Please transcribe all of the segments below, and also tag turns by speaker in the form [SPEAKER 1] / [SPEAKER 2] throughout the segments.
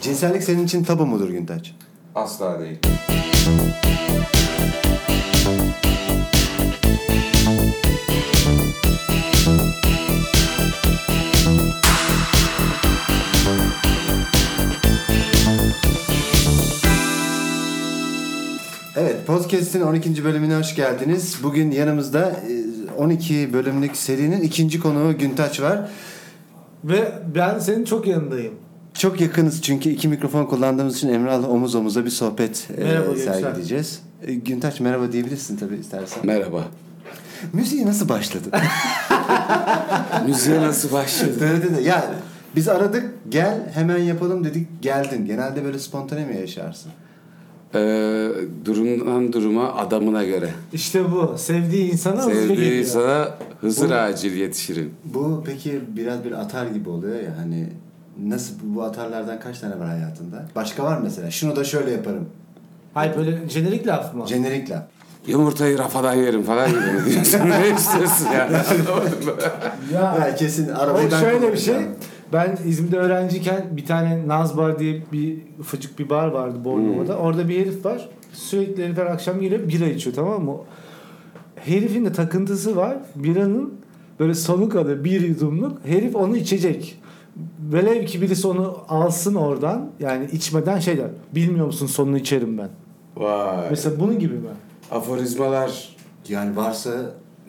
[SPEAKER 1] Cinsellik senin için tabu mudur Güntaç?
[SPEAKER 2] Asla değil.
[SPEAKER 1] Evet, podcast'in 12. bölümüne hoş geldiniz. Bugün yanımızda e, 12 bölümlük serinin ikinci konuğu Güntaç var.
[SPEAKER 3] Ve ben senin çok yanındayım.
[SPEAKER 1] Çok yakınız çünkü iki mikrofon kullandığımız için Emrah'la omuz omuza bir sohbet e,
[SPEAKER 3] Merhaba Göksel.
[SPEAKER 1] sergileyeceğiz. E, Güntaç merhaba diyebilirsin tabii istersen.
[SPEAKER 4] Merhaba.
[SPEAKER 1] Müziği nasıl başladı?
[SPEAKER 4] Müziğe nasıl başladı?
[SPEAKER 1] Böyle de ya biz aradık gel hemen yapalım dedik geldin. Genelde böyle spontane mi yaşarsın?
[SPEAKER 4] Ee, durumdan duruma adamına göre.
[SPEAKER 3] İşte bu. Sevdiği insana hızlı
[SPEAKER 4] Sevdiği
[SPEAKER 3] geliyor.
[SPEAKER 4] insana hızır acil yetişirim.
[SPEAKER 1] Bu peki biraz bir atar gibi oluyor ya hani nasıl bu, bu atarlardan kaç tane var hayatında? Başka var mı mesela şunu da şöyle yaparım.
[SPEAKER 3] Hayır böyle jenerik laf mı?
[SPEAKER 1] Jenerik laf.
[SPEAKER 4] Yumurtayı rafadan yerim falan gibi mi diyorsun? ne istiyorsun ya?
[SPEAKER 1] Ha, kesin arabayı
[SPEAKER 3] O
[SPEAKER 1] ben
[SPEAKER 3] şöyle bir şey.
[SPEAKER 1] kullanacağım.
[SPEAKER 3] Ben İzmir'de öğrenciyken bir tane Naz Bar diye bir fıcık bir bar vardı
[SPEAKER 4] Hmm.
[SPEAKER 3] Bornova'da. Orada bir herif var. Sürekli herifler akşam geliyor bira içiyor tamam mı? Herifin de takıntısı var. Biranın böyle sonu kadar bir yudumluk. Herif onu içecek. Velev ki birisi onu alsın oradan. Yani içmeden şey der. Bilmiyor musun sonunu içerim ben.
[SPEAKER 4] Vay.
[SPEAKER 3] Mesela bunun gibi mi?
[SPEAKER 4] Aforizmalar.
[SPEAKER 1] Yani varsa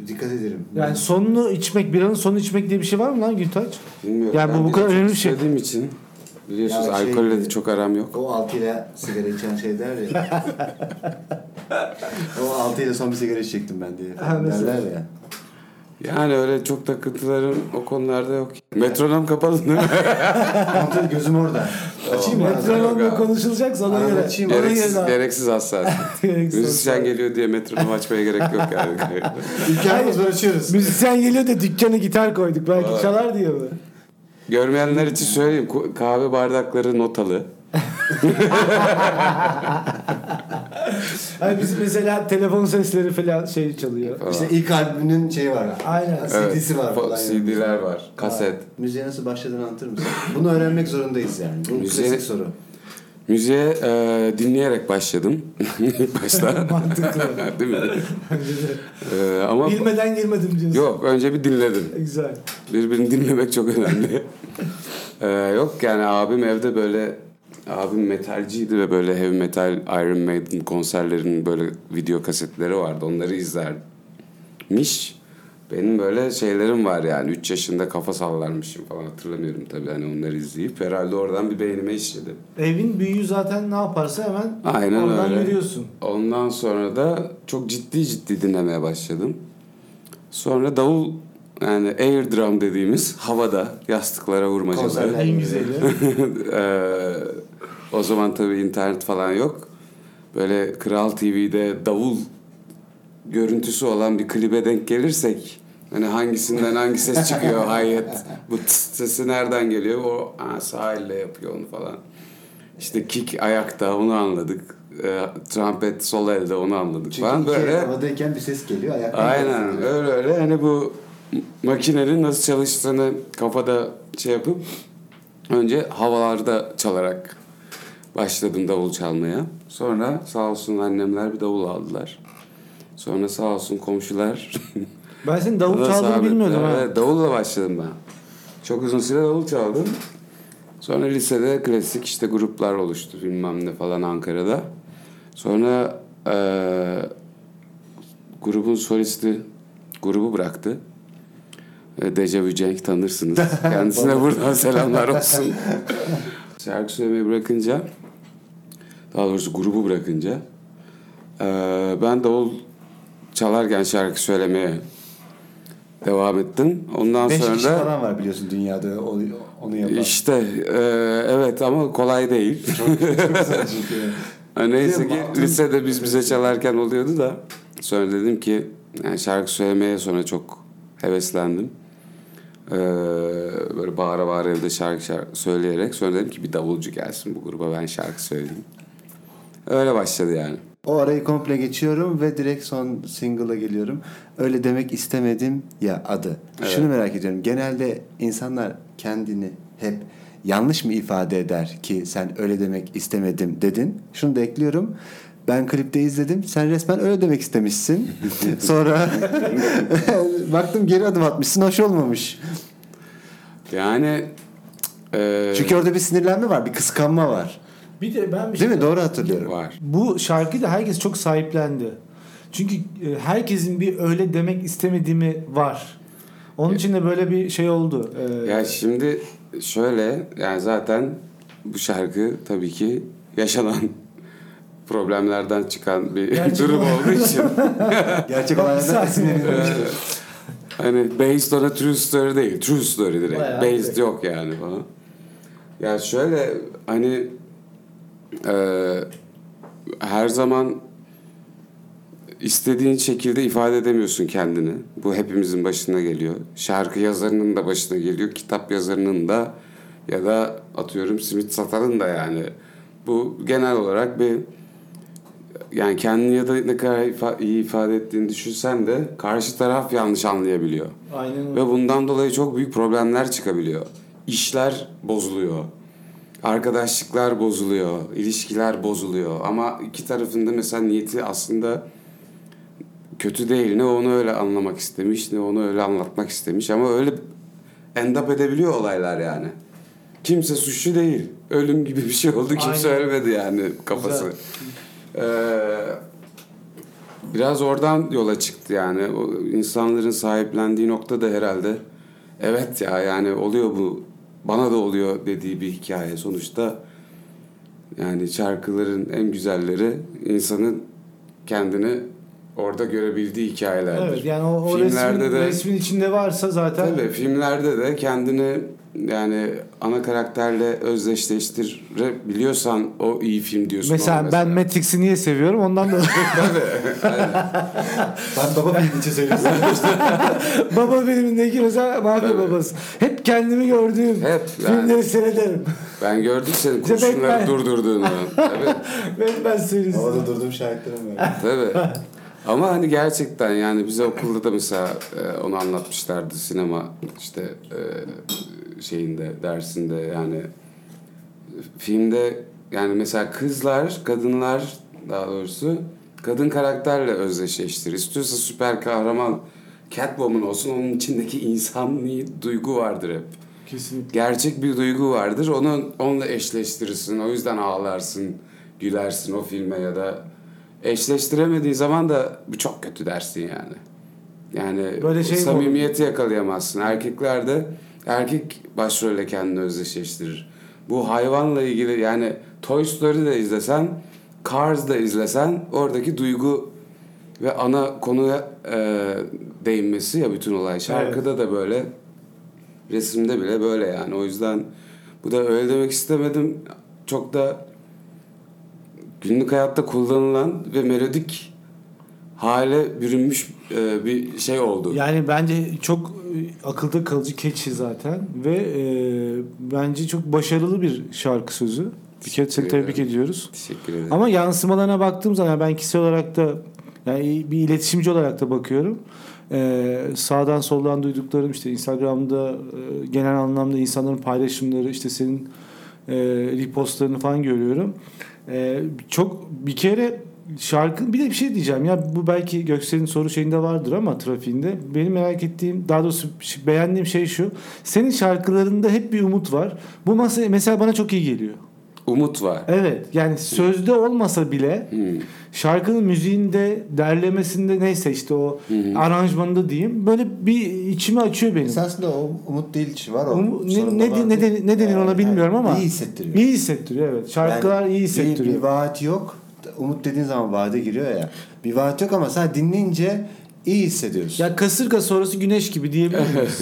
[SPEAKER 1] dikkat ederim.
[SPEAKER 3] Yani sonunu içmek, biranın sonunu içmek diye bir şey var mı lan Gültaç?
[SPEAKER 4] Bilmiyorum.
[SPEAKER 3] Yani bu-
[SPEAKER 4] ben
[SPEAKER 3] bu
[SPEAKER 4] de
[SPEAKER 3] kadar
[SPEAKER 4] çok
[SPEAKER 3] önemli bir şey.
[SPEAKER 4] sevdiğim için. Biliyorsunuz
[SPEAKER 1] Ya şey-
[SPEAKER 4] alkolle de çok aram yok.
[SPEAKER 1] O altıyla sigara içen şey der ya. o altıyla son bir sigara içecektim ben diye.
[SPEAKER 3] Ha, mesela.
[SPEAKER 1] derler ya.
[SPEAKER 4] Yani öyle çok takıntılarım o konularda yok. Metronom kapalı değil mi?
[SPEAKER 1] Kontrol gözüm orada. Açayım mı? arada?
[SPEAKER 3] Metronomla konuşulacak sana
[SPEAKER 1] Arada
[SPEAKER 3] göre.
[SPEAKER 1] çiğ-
[SPEAKER 3] Ona göre
[SPEAKER 4] gereksiz,
[SPEAKER 3] abi.
[SPEAKER 4] gereksiz hassas.
[SPEAKER 3] Gereksiz
[SPEAKER 4] Müzisyen
[SPEAKER 3] hassas.
[SPEAKER 4] geliyor diye metronom açmaya gerek yok yani.
[SPEAKER 1] İmkanımız var açıyoruz.
[SPEAKER 3] Müzisyen geliyor da dükkana gitar koyduk. Belki çalar diye mi?
[SPEAKER 4] Görmeyenler için söyleyeyim. ku- Kahve bardakları notalı.
[SPEAKER 3] Hayır biz mesela telefon sesleri falan şey çalıyor.
[SPEAKER 1] İşte ilk albümünün şeyi var.
[SPEAKER 3] Aynen.
[SPEAKER 1] CD'si var.
[SPEAKER 4] Fo-
[SPEAKER 1] falan yani.
[SPEAKER 4] CD'ler var. Kaset.
[SPEAKER 1] Müziğe nasıl başladığını anlatır mısın? Bunu öğrenmek zorundayız yani. Bu
[SPEAKER 4] Müziğe-
[SPEAKER 1] klasik soru.
[SPEAKER 4] Müziğe e, dinleyerek başladım. İlk başta.
[SPEAKER 3] Mantıklı.
[SPEAKER 4] Değil mi? E, ama
[SPEAKER 3] Bilmeden girmedim diyorsun.
[SPEAKER 4] yok önce bir dinledim.
[SPEAKER 3] Güzel.
[SPEAKER 4] Birbirini dinlemek çok önemli. E, yok yani abim evde böyle abim metalciydi ve böyle heavy metal Iron Maiden konserlerinin böyle video kasetleri vardı. Onları izlermiş. Benim böyle şeylerim var yani. 3 yaşında kafa sallarmışım falan hatırlamıyorum tabii. Hani onları izleyip herhalde oradan bir beynime işledi.
[SPEAKER 3] Evin büyüğü zaten ne yaparsa hemen
[SPEAKER 4] Aynen
[SPEAKER 3] oradan
[SPEAKER 4] öyle.
[SPEAKER 3] yürüyorsun.
[SPEAKER 4] Ondan sonra da çok ciddi ciddi dinlemeye başladım. Sonra davul yani air drum dediğimiz havada yastıklara vurmacaları.
[SPEAKER 1] Konserler.
[SPEAKER 3] En güzeli.
[SPEAKER 4] Eee, Ee, o zaman tabii internet falan yok. Böyle Kral TV'de davul görüntüsü olan bir klibe denk gelirsek hani hangisinden hangi ses çıkıyor hayet bu tıs sesi nereden geliyor o ha, sahille yapıyor onu falan. İşte kick ayakta onu anladık. Eee, trompet sol elde onu anladık
[SPEAKER 1] Çünkü
[SPEAKER 4] falan
[SPEAKER 1] iki el
[SPEAKER 4] böyle.
[SPEAKER 1] havadayken bir ses geliyor. Ayakta
[SPEAKER 4] Aynen öyle öyle hani bu makinenin nasıl çalıştığını kafada şey yapıp önce havalarda çalarak başladım davul çalmaya. Sonra sağ olsun annemler bir davul aldılar. Sonra sağ olsun komşular.
[SPEAKER 3] Ben senin davul
[SPEAKER 4] Nasıl
[SPEAKER 3] çaldığını
[SPEAKER 4] abi?
[SPEAKER 3] bilmiyordum ha.
[SPEAKER 4] Evet, davulla başladım ben. Çok uzun süre davul çaldım. Sonra lisede klasik işte gruplar oluştu bilmem ne falan Ankara'da. Sonra eee, grubun solisti grubu bıraktı. E, Dejavu Cenk tanırsınız. Kendisine buradan selamlar olsun. Şarkı söylemeyi bırakınca daha doğrusu grubu bırakınca eee, ben davul çalarken şarkı söylemeye devam ettim. Ondan
[SPEAKER 1] Beş
[SPEAKER 4] sonra
[SPEAKER 1] kişi
[SPEAKER 4] da
[SPEAKER 1] falan var biliyorsun dünyada o- onu yapan.
[SPEAKER 4] işte e, evet ama kolay değil.
[SPEAKER 1] Çünkü-
[SPEAKER 4] Ha, Neyse ki
[SPEAKER 1] Değil mi?
[SPEAKER 4] lisede biz bize çalarken oluyordu da sonra dedim ki yani şarkı söylemeye sonra çok heveslendim. Ee, böyle bağıra bağıra evde şarkı, şarkı söyleyerek sonra dedim ki bir davulcu gelsin bu gruba ben şarkı söyleyeyim. Öyle başladı yani.
[SPEAKER 1] O arayı komple geçiyorum ve direkt son single'a geliyorum. Öyle demek istemedim ya adı. Şunu merak ediyorum. Genelde insanlar kendini hep yanlış mı ifade eder ki sen öyle demek istemedim dedin. Şunu da ekliyorum. Ben klipte izledim. Sen resmen öyle demek istemişsin. Sonra baktım geri adım atmışsın. Hoş olmamış.
[SPEAKER 4] Yani e, eee,
[SPEAKER 1] Çünkü orada bir sinirlenme var. Bir kıskanma var.
[SPEAKER 3] Bir de ben bir şey
[SPEAKER 1] Değil mi? Doğru hatırlıyorum.
[SPEAKER 4] var.
[SPEAKER 3] Bu şarkıyı da herkes çok sahiplendi. Çünkü e, herkesin bir öyle demek istemediğimi var. Onun için de böyle bir şey oldu. Ee,
[SPEAKER 4] Ya şimdi şöyle yani zaten bu şarkı tabii ki yaşanan problemlerden çıkan bir
[SPEAKER 3] Gerçek
[SPEAKER 4] durum
[SPEAKER 3] olarak.
[SPEAKER 4] olduğu için
[SPEAKER 1] Gerçek
[SPEAKER 3] Bak, bir
[SPEAKER 1] olaylardan
[SPEAKER 3] saat
[SPEAKER 1] sinirlenme.
[SPEAKER 4] eee, Ee, hani based on a true story değil. True story direkt.
[SPEAKER 3] Bayağı
[SPEAKER 4] based
[SPEAKER 3] direkt.
[SPEAKER 4] yok yani falan. Ya şöyle hani eee, her zaman istediğin şekilde ifade edemiyorsun kendini. Bu hepimizin başına geliyor. Şarkı yazarının da başına geliyor. Kitap yazarının da ya da atıyorum simit satarın da yani. Bu genel olarak bir yani kendini ya da ne kadar ifa- iyi ifade ettiğini düşünsen de karşı taraf yanlış anlayabiliyor.
[SPEAKER 3] aynen öyle.
[SPEAKER 4] Ve bundan dolayı çok büyük problemler çıkabiliyor. İşler bozuluyor. Arkadaşlıklar bozuluyor. ilişkiler bozuluyor. Ama iki tarafında mesela niyeti aslında kötü değil. Ne onu öyle anlamak istemiş ne onu öyle anlatmak istemiş. Ama öyle end up edebiliyor olaylar yani. Kimse suçlu değil. Ölüm gibi bir şey oldu. Kimse
[SPEAKER 3] Aynen.
[SPEAKER 4] ölmedi yani kafası. Ee, biraz oradan yola çıktı yani. O insanların sahiplendiği nokta da herhalde evet ya yani oluyor bu bana da oluyor dediği bir hikaye sonuçta. Yani şarkıların en güzelleri insanın kendini orada görebildiği hikayelerdir.
[SPEAKER 3] Evet yani o, o
[SPEAKER 4] Filmlerde
[SPEAKER 3] resmin,
[SPEAKER 4] de-
[SPEAKER 3] resmin içinde varsa zaten
[SPEAKER 4] Tabii filmlerde de kendini yani ana karakterle özdeşleştirebiliyorsan o iyi film diyorsun.
[SPEAKER 3] mesela,
[SPEAKER 4] ona
[SPEAKER 3] ben Matrix'i niye seviyorum ondan da
[SPEAKER 1] Ben baba benim için söylüyorsun.
[SPEAKER 3] baba benim ne özel mafya babası. Hep kendimi gördüğüm
[SPEAKER 4] Hep
[SPEAKER 3] filmleri
[SPEAKER 4] yani.
[SPEAKER 3] seyrederim.
[SPEAKER 4] Ben gördüm senin
[SPEAKER 3] Bize
[SPEAKER 4] kurşunları
[SPEAKER 3] bekler.
[SPEAKER 4] durdurduğunu. Tabii.
[SPEAKER 3] ben ben serisi.
[SPEAKER 1] Havada durduğum şahitlerim var.
[SPEAKER 4] Tabii. Ama hani gerçekten yani bize okulda da mesela e, onu anlatmışlardı sinema işte e, şeyinde dersinde yani filmde yani mesela kızlar, kadınlar daha doğrusu kadın karakterle özdeşleştir. İstiyorsa süper kahraman Catwoman olsun onun içindeki insani duygu vardır hep
[SPEAKER 3] Kesinlikle.
[SPEAKER 4] gerçek bir duygu vardır. Onu onunla eşleştirirsin. O yüzden ağlarsın, gülersin o filme ya da eşleştiremediğin zaman da bu çok kötü dersin yani. Yani
[SPEAKER 3] Böyle
[SPEAKER 4] o
[SPEAKER 3] şey mi
[SPEAKER 4] samimiyeti yakalayamazsın. Erkeklerde erkek başrolle kendini özdeşleştirir. Bu hayvanla ilgili yani Toy Story de izlesen, Cars da izlesen oradaki duygu ve ana konuya e, değinmesi ya bütün olay. Şarkıda da böyle Resimde bile böyle yani. O yüzden bu da öyle demek istemedim. Çok da günlük hayatta kullanılan ve melodik hale bürünmüş e, bir şey oldu.
[SPEAKER 3] Yani bence çok e, akılda kalıcı keçi zaten ve e, bence çok başarılı bir şarkı sözü. Bir kere seni
[SPEAKER 4] ederim.
[SPEAKER 3] tebrik ediyoruz.
[SPEAKER 4] Teşekkür ederim.
[SPEAKER 3] Ama yansımalarına baktığım zaman ben kişisel olarak da yani bir iletişimci olarak da bakıyorum. E, sağdan soldan duyduklarım işte Instagram'da e, genel anlamda insanların paylaşımları işte senin e, repostlarını falan görüyorum. E, çok bir kere şarkı bir de bir şey diyeceğim ya bu belki Göksel'in soru şeyinde vardır ama trafiğinde benim merak ettiğim daha doğrusu ş- beğendiğim şey şu senin şarkılarında hep bir umut var bu masa mesela bana çok iyi geliyor
[SPEAKER 4] Umut var.
[SPEAKER 3] evet yani sözde olmasa bile
[SPEAKER 4] Hmm.
[SPEAKER 3] şarkının müziğinde derlemesinde neyse işte o aranjmanında diyeyim böyle bir içimi açıyor benim
[SPEAKER 1] Esasında o Umut Diliç var o.
[SPEAKER 3] Umu- ne-
[SPEAKER 1] Sorumlu
[SPEAKER 3] ne-
[SPEAKER 1] var.
[SPEAKER 3] ne deni- ne denir ona
[SPEAKER 1] Yani
[SPEAKER 3] bilmiyorum ama-
[SPEAKER 1] İyi hissettiriyor.
[SPEAKER 3] iyi hissettiriyor evet şarkılar
[SPEAKER 1] Yani
[SPEAKER 3] iyi
[SPEAKER 1] Bir, bir
[SPEAKER 3] hissettiriyor
[SPEAKER 1] vaat yok. Umut dediğin zaman vaade giriyor ya. Bir vaat yok ama sen dinleyince iyi hissediyorsun.
[SPEAKER 3] ya kasırga sonrası güneş gibi diyebilir miyiz?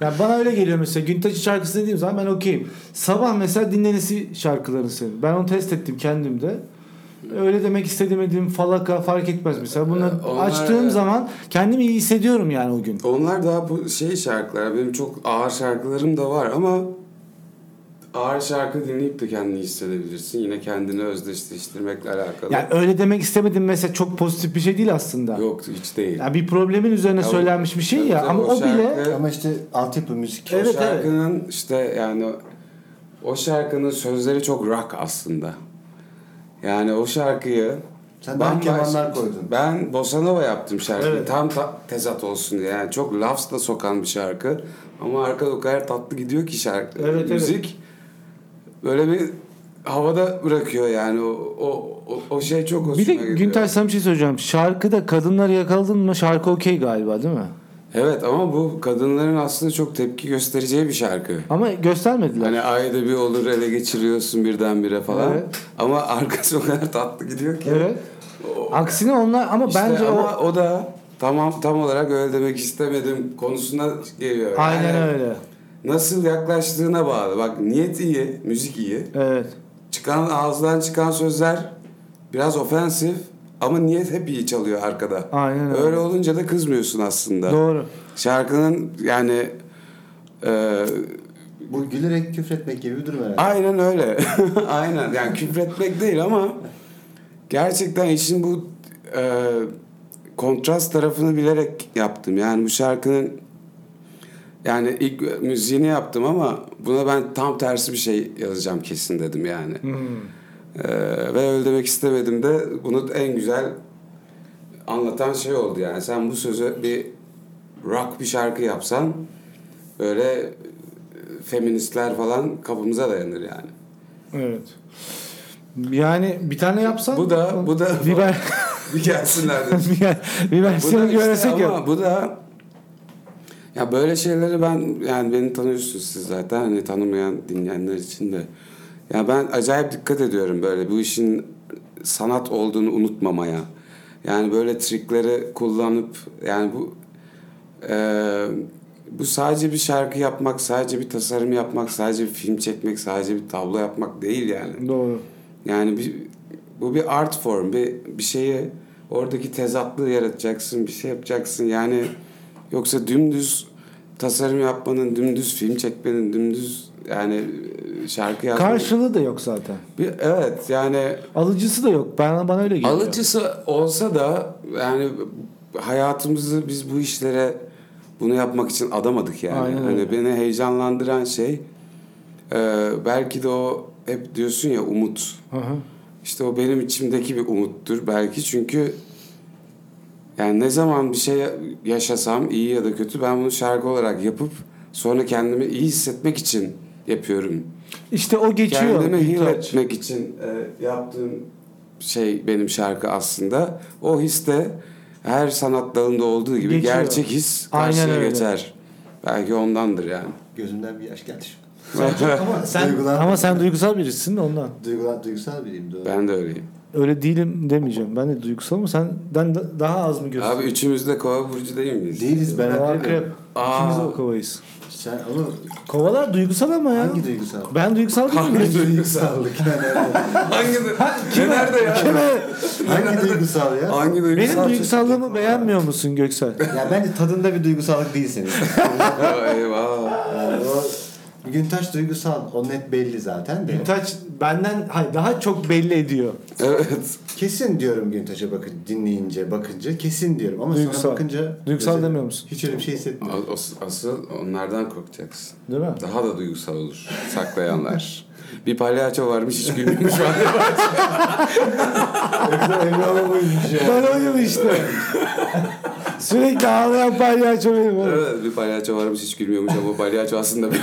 [SPEAKER 3] ya bana öyle geliyor mesela Güntaç'ın şarkısı dediğim zaman ben okeyim. Sabah mesela dinlenisi şarkılarını seviyorum. Ben onu test ettim kendimde. Öyle demek istemediğim falaka fark etmez mesela. Bunları
[SPEAKER 4] Ee, onlar-
[SPEAKER 3] açtığım zaman kendimi iyi hissediyorum yani o gün.
[SPEAKER 4] Onlar daha bu şey şarkılar. Benim çok ağır şarkılarım da var ama ağır şarkı dinleyip de kendini hissedebilirsin. Yine kendini özdeşleştirmekle alakalı.
[SPEAKER 3] Yani öyle demek istemedim mesela çok pozitif bir şey değil aslında.
[SPEAKER 4] Yok hiç değil.
[SPEAKER 3] Ya bir problemin üzerine
[SPEAKER 4] Ya o-
[SPEAKER 3] söylenmiş bir şey
[SPEAKER 4] Tabii
[SPEAKER 3] ya
[SPEAKER 4] tabii,
[SPEAKER 3] ama o, bile
[SPEAKER 4] şarkı-
[SPEAKER 1] Ama işte altyapı müzik.
[SPEAKER 3] Evet,
[SPEAKER 4] o şarkının işte yani O şarkının sözleri çok rock aslında. Yani o şarkıyı
[SPEAKER 1] Sen daha
[SPEAKER 4] bambaşka-
[SPEAKER 1] kemanlar koydun.
[SPEAKER 4] Ben bossa nova yaptım şarkıyı.
[SPEAKER 3] Evet.
[SPEAKER 4] Tam ta- tezat olsun diye. Yani çok lafzla sokan bir şarkı. Ama arkada o kadar tatlı gidiyor ki şarkı.
[SPEAKER 3] Evet, evet.
[SPEAKER 4] Müzik böyle bir havada bırakıyor yani. O, o, o, o şey çok hoşuma
[SPEAKER 3] Bir de
[SPEAKER 4] gidiyor.
[SPEAKER 3] Günter sana bir şey söyleyeceğim. Şarkıda kadınları yakaladın mı şarkı okey galiba değil mi?
[SPEAKER 4] Evet ama bu kadınların aslında çok tepki göstereceği bir şarkı.
[SPEAKER 3] Ama göstermediler.
[SPEAKER 4] Hani ayda bir olur ele geçiriyorsun birdenbire falan.
[SPEAKER 3] Evet.
[SPEAKER 4] Ama arkası o kadar tatlı gidiyor ki.
[SPEAKER 3] evet. Aksine onlar ama
[SPEAKER 4] İşte
[SPEAKER 3] bence
[SPEAKER 4] ama
[SPEAKER 3] o
[SPEAKER 4] o... da tamam tam olarak öyle demek istemedim konusuna geliyor.
[SPEAKER 3] aynen
[SPEAKER 4] Yani
[SPEAKER 3] öyle.
[SPEAKER 4] Nasıl yaklaştığına bağlı. Bak niyet iyi, müzik iyi.
[SPEAKER 3] Evet.
[SPEAKER 4] Çıkan ağızdan çıkan sözler biraz ofensif ama niyet hep iyi çalıyor arkada.
[SPEAKER 3] Aynen öyle.
[SPEAKER 4] Öyle olunca da kızmıyorsun aslında.
[SPEAKER 3] Doğru.
[SPEAKER 4] Şarkının yani e,
[SPEAKER 1] Bu gülerek küfretmek gibi bir durum herhalde.
[SPEAKER 4] Aynen öyle. Aynen. Yani küfretmek değil ama gerçekten işin bu e, kontrast tarafını bilerek yaptım. Yani bu şarkının yani ilk müziğini yaptım ama buna ben tam tersi bir şey yazacağım kesin dedim yani. E, ve öyle demek istemedim de bunu en güzel anlatan şey oldu yani. Sen bu sözü bir rock bir şarkı yapsan böyle e, feministler falan kapımıza dayanır yani.
[SPEAKER 3] Evet. Yani bir tane yapsan
[SPEAKER 4] Bu da bu da
[SPEAKER 3] bir ver
[SPEAKER 4] bir gelsinler dedim.
[SPEAKER 3] bir, ver- bir
[SPEAKER 4] Bu da
[SPEAKER 3] versiyonu
[SPEAKER 4] işte
[SPEAKER 3] göresek
[SPEAKER 4] ama
[SPEAKER 3] ya.
[SPEAKER 4] bu da ya böyle şeyleri ben yani beni tanıyorsunuz siz zaten hani tanımayan dinleyenler için de. Ya ben acayip dikkat ediyorum böyle bu işin sanat olduğunu unutmamaya. Yani böyle trikleri kullanıp yani bu Ee, bu sadece bir şarkı yapmak, sadece bir tasarım yapmak, sadece bir film çekmek, sadece bir tablo yapmak değil yani.
[SPEAKER 3] Doğru.
[SPEAKER 4] Yani bir, bu bir art form, bir, bir şeyi oradaki tezatlığı yaratacaksın, bir şey yapacaksın. Yani yoksa dümdüz tasarım yapmanın, dümdüz film çekmenin, dümdüz yani e, şarkı yazmanın.
[SPEAKER 3] Karşılığı da yok zaten.
[SPEAKER 4] Bir, evet yani
[SPEAKER 3] Alıcısı da yok. Bana bana öyle geliyor.
[SPEAKER 4] Alıcısı olsa da yani hayatımızı biz bu işlere bunu yapmak için adamadık yani.
[SPEAKER 3] Aynen
[SPEAKER 4] hani
[SPEAKER 3] öyle.
[SPEAKER 4] beni heyecanlandıran şey e, belki de o hep diyorsun ya umut.
[SPEAKER 3] Hı hı.
[SPEAKER 4] İşte o benim içimdeki bir umuttur belki çünkü yani ne zaman bir şey yaşasam iyi ya da kötü ben bunu şarkı olarak yapıp sonra kendimi iyi hissetmek için yapıyorum.
[SPEAKER 3] İşte o geçiyor.
[SPEAKER 4] Kendimi heal
[SPEAKER 3] İhtiyaç.
[SPEAKER 4] etmek için e, yaptığım şey benim şarkı aslında. O his de her sanat dalında olduğu gibi
[SPEAKER 3] Geçiyor.
[SPEAKER 4] gerçek his
[SPEAKER 3] Aynen
[SPEAKER 4] karşıya
[SPEAKER 3] öyle.
[SPEAKER 4] geçer. Belki ondandır yani.
[SPEAKER 1] Gözümden bir yaş geldi şimdi.
[SPEAKER 3] Ama sen,
[SPEAKER 1] Duygulan-
[SPEAKER 3] ama sen duygusal birisin de ondan.
[SPEAKER 1] Duygulan, duygusal biriyim doğru.
[SPEAKER 4] ben de öyleyim.
[SPEAKER 3] Öyle değilim demeyeceğim. Ben de duygusal ama senden da- daha az mı gösteriyorsun?
[SPEAKER 4] Abi üçümüz de kova burcu değil miyiz?
[SPEAKER 1] Değiliz ben
[SPEAKER 3] Aa,
[SPEAKER 1] akrep.
[SPEAKER 3] akrep.
[SPEAKER 4] Aa.
[SPEAKER 3] İkimiz de o kovayız.
[SPEAKER 1] Sen oğlum
[SPEAKER 3] Kovalar duygusal ama ya.
[SPEAKER 1] hangi duygusal?
[SPEAKER 3] Ben duygusal değilim.
[SPEAKER 4] Hangi
[SPEAKER 1] duygusallık yani?
[SPEAKER 4] Hangi ne nerede ya?
[SPEAKER 1] hangi duygusal ya?
[SPEAKER 4] Hangi duygusal?
[SPEAKER 3] Benim duygusallığımı beğenmiyor musun Göksel?
[SPEAKER 1] Ya bence tadında bir duygusallık değil senin.
[SPEAKER 4] Eyvah.
[SPEAKER 1] Yani o Güntaş duygusal. O net belli zaten de.
[SPEAKER 3] Taç benden hayır, daha çok belli ediyor.
[SPEAKER 4] Evet.
[SPEAKER 1] Kesin diyorum Güntaş'a bakın dinleyince, bakınca kesin diyorum ama
[SPEAKER 3] Duygusal.
[SPEAKER 1] sonra bakınca
[SPEAKER 3] Duygusal
[SPEAKER 1] Mesela
[SPEAKER 3] demiyor musun?
[SPEAKER 1] Hiç öyle bir şey hissetmiyorum.
[SPEAKER 4] As- Asıl onlardan korkacaksın.
[SPEAKER 3] Değil mi?
[SPEAKER 4] Daha da duygusal olur saklayanlar. Bir palyaço varmış hiç gülmemiş var.
[SPEAKER 1] Emre Alamaymış ya.
[SPEAKER 3] Ben oyum işte. Sürekli ağlayan palyaço benim. oğlum.
[SPEAKER 4] Evet, bir palyaço varmış hiç gülmüyormuş ama palyaço aslında bir...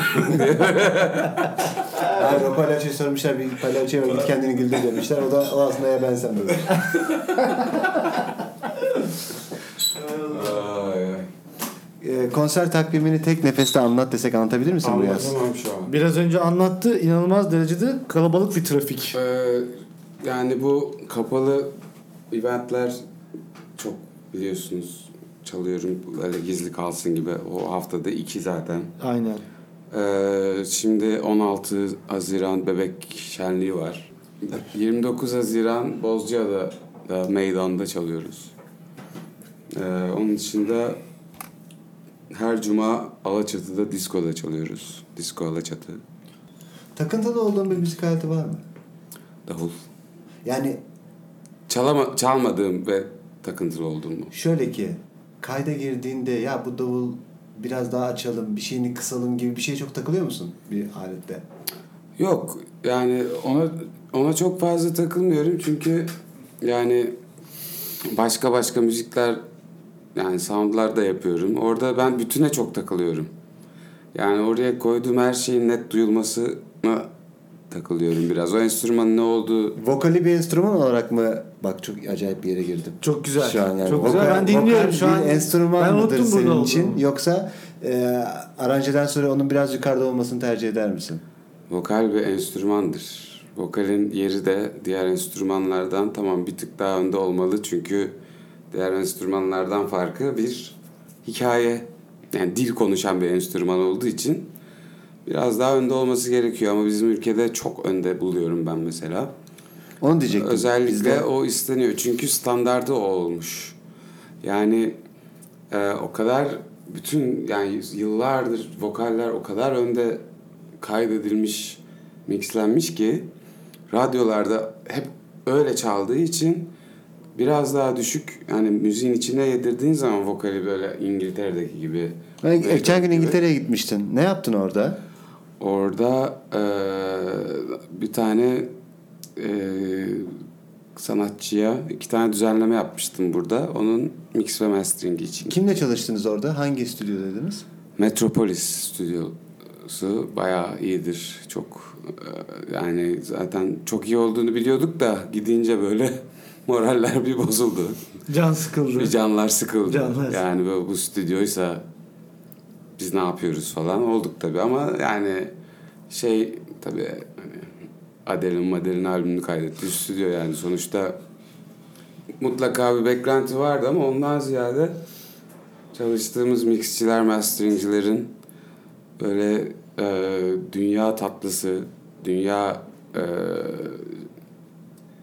[SPEAKER 1] Abi o palyaçoyu sormuşlar bir palyaçoya bak git kendini güldür demişler. O da o aslında ya ben sen demiş. Ee, konser takvimini tek nefeste anlat desek anlatabilir misin bu yaz?
[SPEAKER 4] Anlatamam şu an.
[SPEAKER 3] Biraz önce anlattı inanılmaz derecede kalabalık bir trafik.
[SPEAKER 4] Ee, yani bu kapalı eventler çok biliyorsunuz çalıyorum böyle gizli kalsın gibi o haftada iki zaten.
[SPEAKER 3] Aynen.
[SPEAKER 4] Ee, şimdi 16 Haziran Bebek Şenliği var. 29 Haziran Bozcaada da meydanda çalıyoruz. Ee, onun dışında her cuma Alaçatı'da diskoda çalıyoruz. Disko Alaçatı.
[SPEAKER 1] Takıntılı olduğun bir müzik aleti var mı?
[SPEAKER 4] Davul.
[SPEAKER 1] Yani
[SPEAKER 4] Çalama, çalmadığım ve takıntılı olduğum mu?
[SPEAKER 1] şöyle ki kayda girdiğinde ya bu davul biraz daha açalım, bir şeyini kısalım gibi bir şeye çok takılıyor musun bir alette?
[SPEAKER 4] Yok yani ona ona çok fazla takılmıyorum çünkü yani başka başka müzikler yani soundlar da yapıyorum. Orada ben bütüne çok takılıyorum. Yani oraya koyduğum her şeyin net duyulmasına takılıyorum biraz. O enstrümanın ne olduğu
[SPEAKER 1] Vokali bir enstrüman olarak mı? Bak çok acayip bir yere girdim.
[SPEAKER 3] Çok güzel.
[SPEAKER 1] Şu an yani
[SPEAKER 3] Çok
[SPEAKER 1] vokal-
[SPEAKER 3] güzel. Ben dinliyorum
[SPEAKER 1] vokal
[SPEAKER 3] şu an.
[SPEAKER 1] Bir enstrüman
[SPEAKER 3] ben
[SPEAKER 1] mıdır
[SPEAKER 3] unuttum burada
[SPEAKER 1] senin
[SPEAKER 3] olduğumu.
[SPEAKER 1] için? Yoksa e, aranjeden sonra onun biraz yukarıda olmasını tercih eder misin?
[SPEAKER 4] vokal bir enstrümandır. Vokalin yeri de diğer enstrümanlardan tamam bir tık daha önde olmalı çünkü diğer enstrümanlardan farkı bir hikaye yani dil konuşan bir enstrüman olduğu için biraz daha önde olması gerekiyor ama bizim ülkede çok önde buluyorum ben mesela.
[SPEAKER 1] Onu diyecektim.
[SPEAKER 4] Özellikle
[SPEAKER 1] Bizde-
[SPEAKER 4] o isteniyor. Çünkü standardı o olmuş. Yani e, o kadar bütün yani yıllardır vokaller o kadar önde kaydedilmiş, mixlenmiş ki radyolarda hep öyle çaldığı için biraz daha düşük yani müziğin içine yedirdiğin zaman vokali böyle İngiltere'deki gibi.
[SPEAKER 1] Ben geçen gün
[SPEAKER 4] gibi.
[SPEAKER 1] İngiltere'ye gitmiştin. Ne yaptın orada?
[SPEAKER 4] Orada e, bir tane e, sanatçıya iki tane düzenleme yapmıştım burada. Onun mix ve masteringi için.
[SPEAKER 1] Kimle çalıştınız orada? Hangi stüdyodadınız?
[SPEAKER 4] Metropolis stüdyosu bayağı iyidir. Çok e, yani zaten çok iyi olduğunu biliyorduk da gidince böyle moraller bir bozuldu.
[SPEAKER 3] Can sıkıldı.
[SPEAKER 4] Bir canlar sıkıldı.
[SPEAKER 3] Canlar.
[SPEAKER 4] Yani böyle bu stüdyoysa biz ne yapıyoruz falan olduk tabii ama yani şey tabii hani Adele'in Madel'in albümünü kaydettiği stüdyo yani sonuçta mutlaka bir beklenti vardı ama ondan ziyade çalıştığımız mixçiler, masteringcilerin böyle e, dünya tatlısı, dünya e,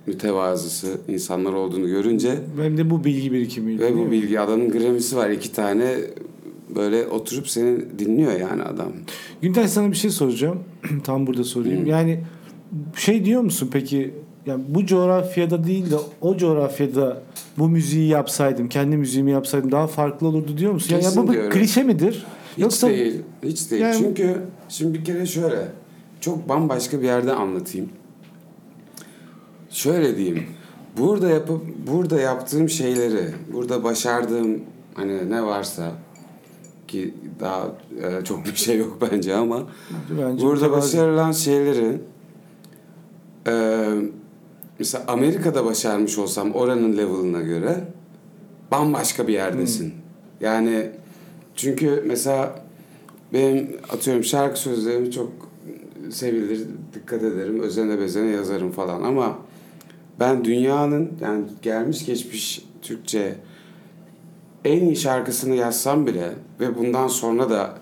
[SPEAKER 4] mütevazısı insanlar olduğunu görünce
[SPEAKER 3] Benim de bu bilgi birikimiydi.
[SPEAKER 4] ve
[SPEAKER 3] değil mi?
[SPEAKER 4] bu bilgi adamın Grammy'si var iki tane böyle oturup seni dinliyor yani adam.
[SPEAKER 3] Güntay sana bir şey soracağım. Tam burada sorayım. Yani şey diyor musun peki yani bu coğrafyada değil de o coğrafyada bu müziği yapsaydım, kendi müziğimi yapsaydım daha farklı olurdu diyor musun? Yani
[SPEAKER 4] Kesin
[SPEAKER 3] bu bir
[SPEAKER 4] diyorum.
[SPEAKER 3] klişe midir?
[SPEAKER 4] Hiç değil. Hiç değil.
[SPEAKER 3] Yani-
[SPEAKER 4] Çünkü şimdi bir kere şöyle çok bambaşka bir yerde anlatayım. Şöyle diyeyim. Burada yapıp burada yaptığım şeyleri, burada başardığım hani ne varsa ki daha e, çok bir şey yok bence ama
[SPEAKER 3] Bence
[SPEAKER 4] Burada
[SPEAKER 3] mütevazı.
[SPEAKER 4] başarılan şeyleri eee, mesela Amerika'da başarmış olsam oranın level'ına göre bambaşka bir yerdesin. Yani çünkü mesela benim atıyorum şarkı sözlerim çok sevilir, dikkat ederim, özene bezene yazarım falan ama ben dünyanın yani gelmiş geçmiş Türkçe en iyi şarkısını yazsam bile ve bundan sonra da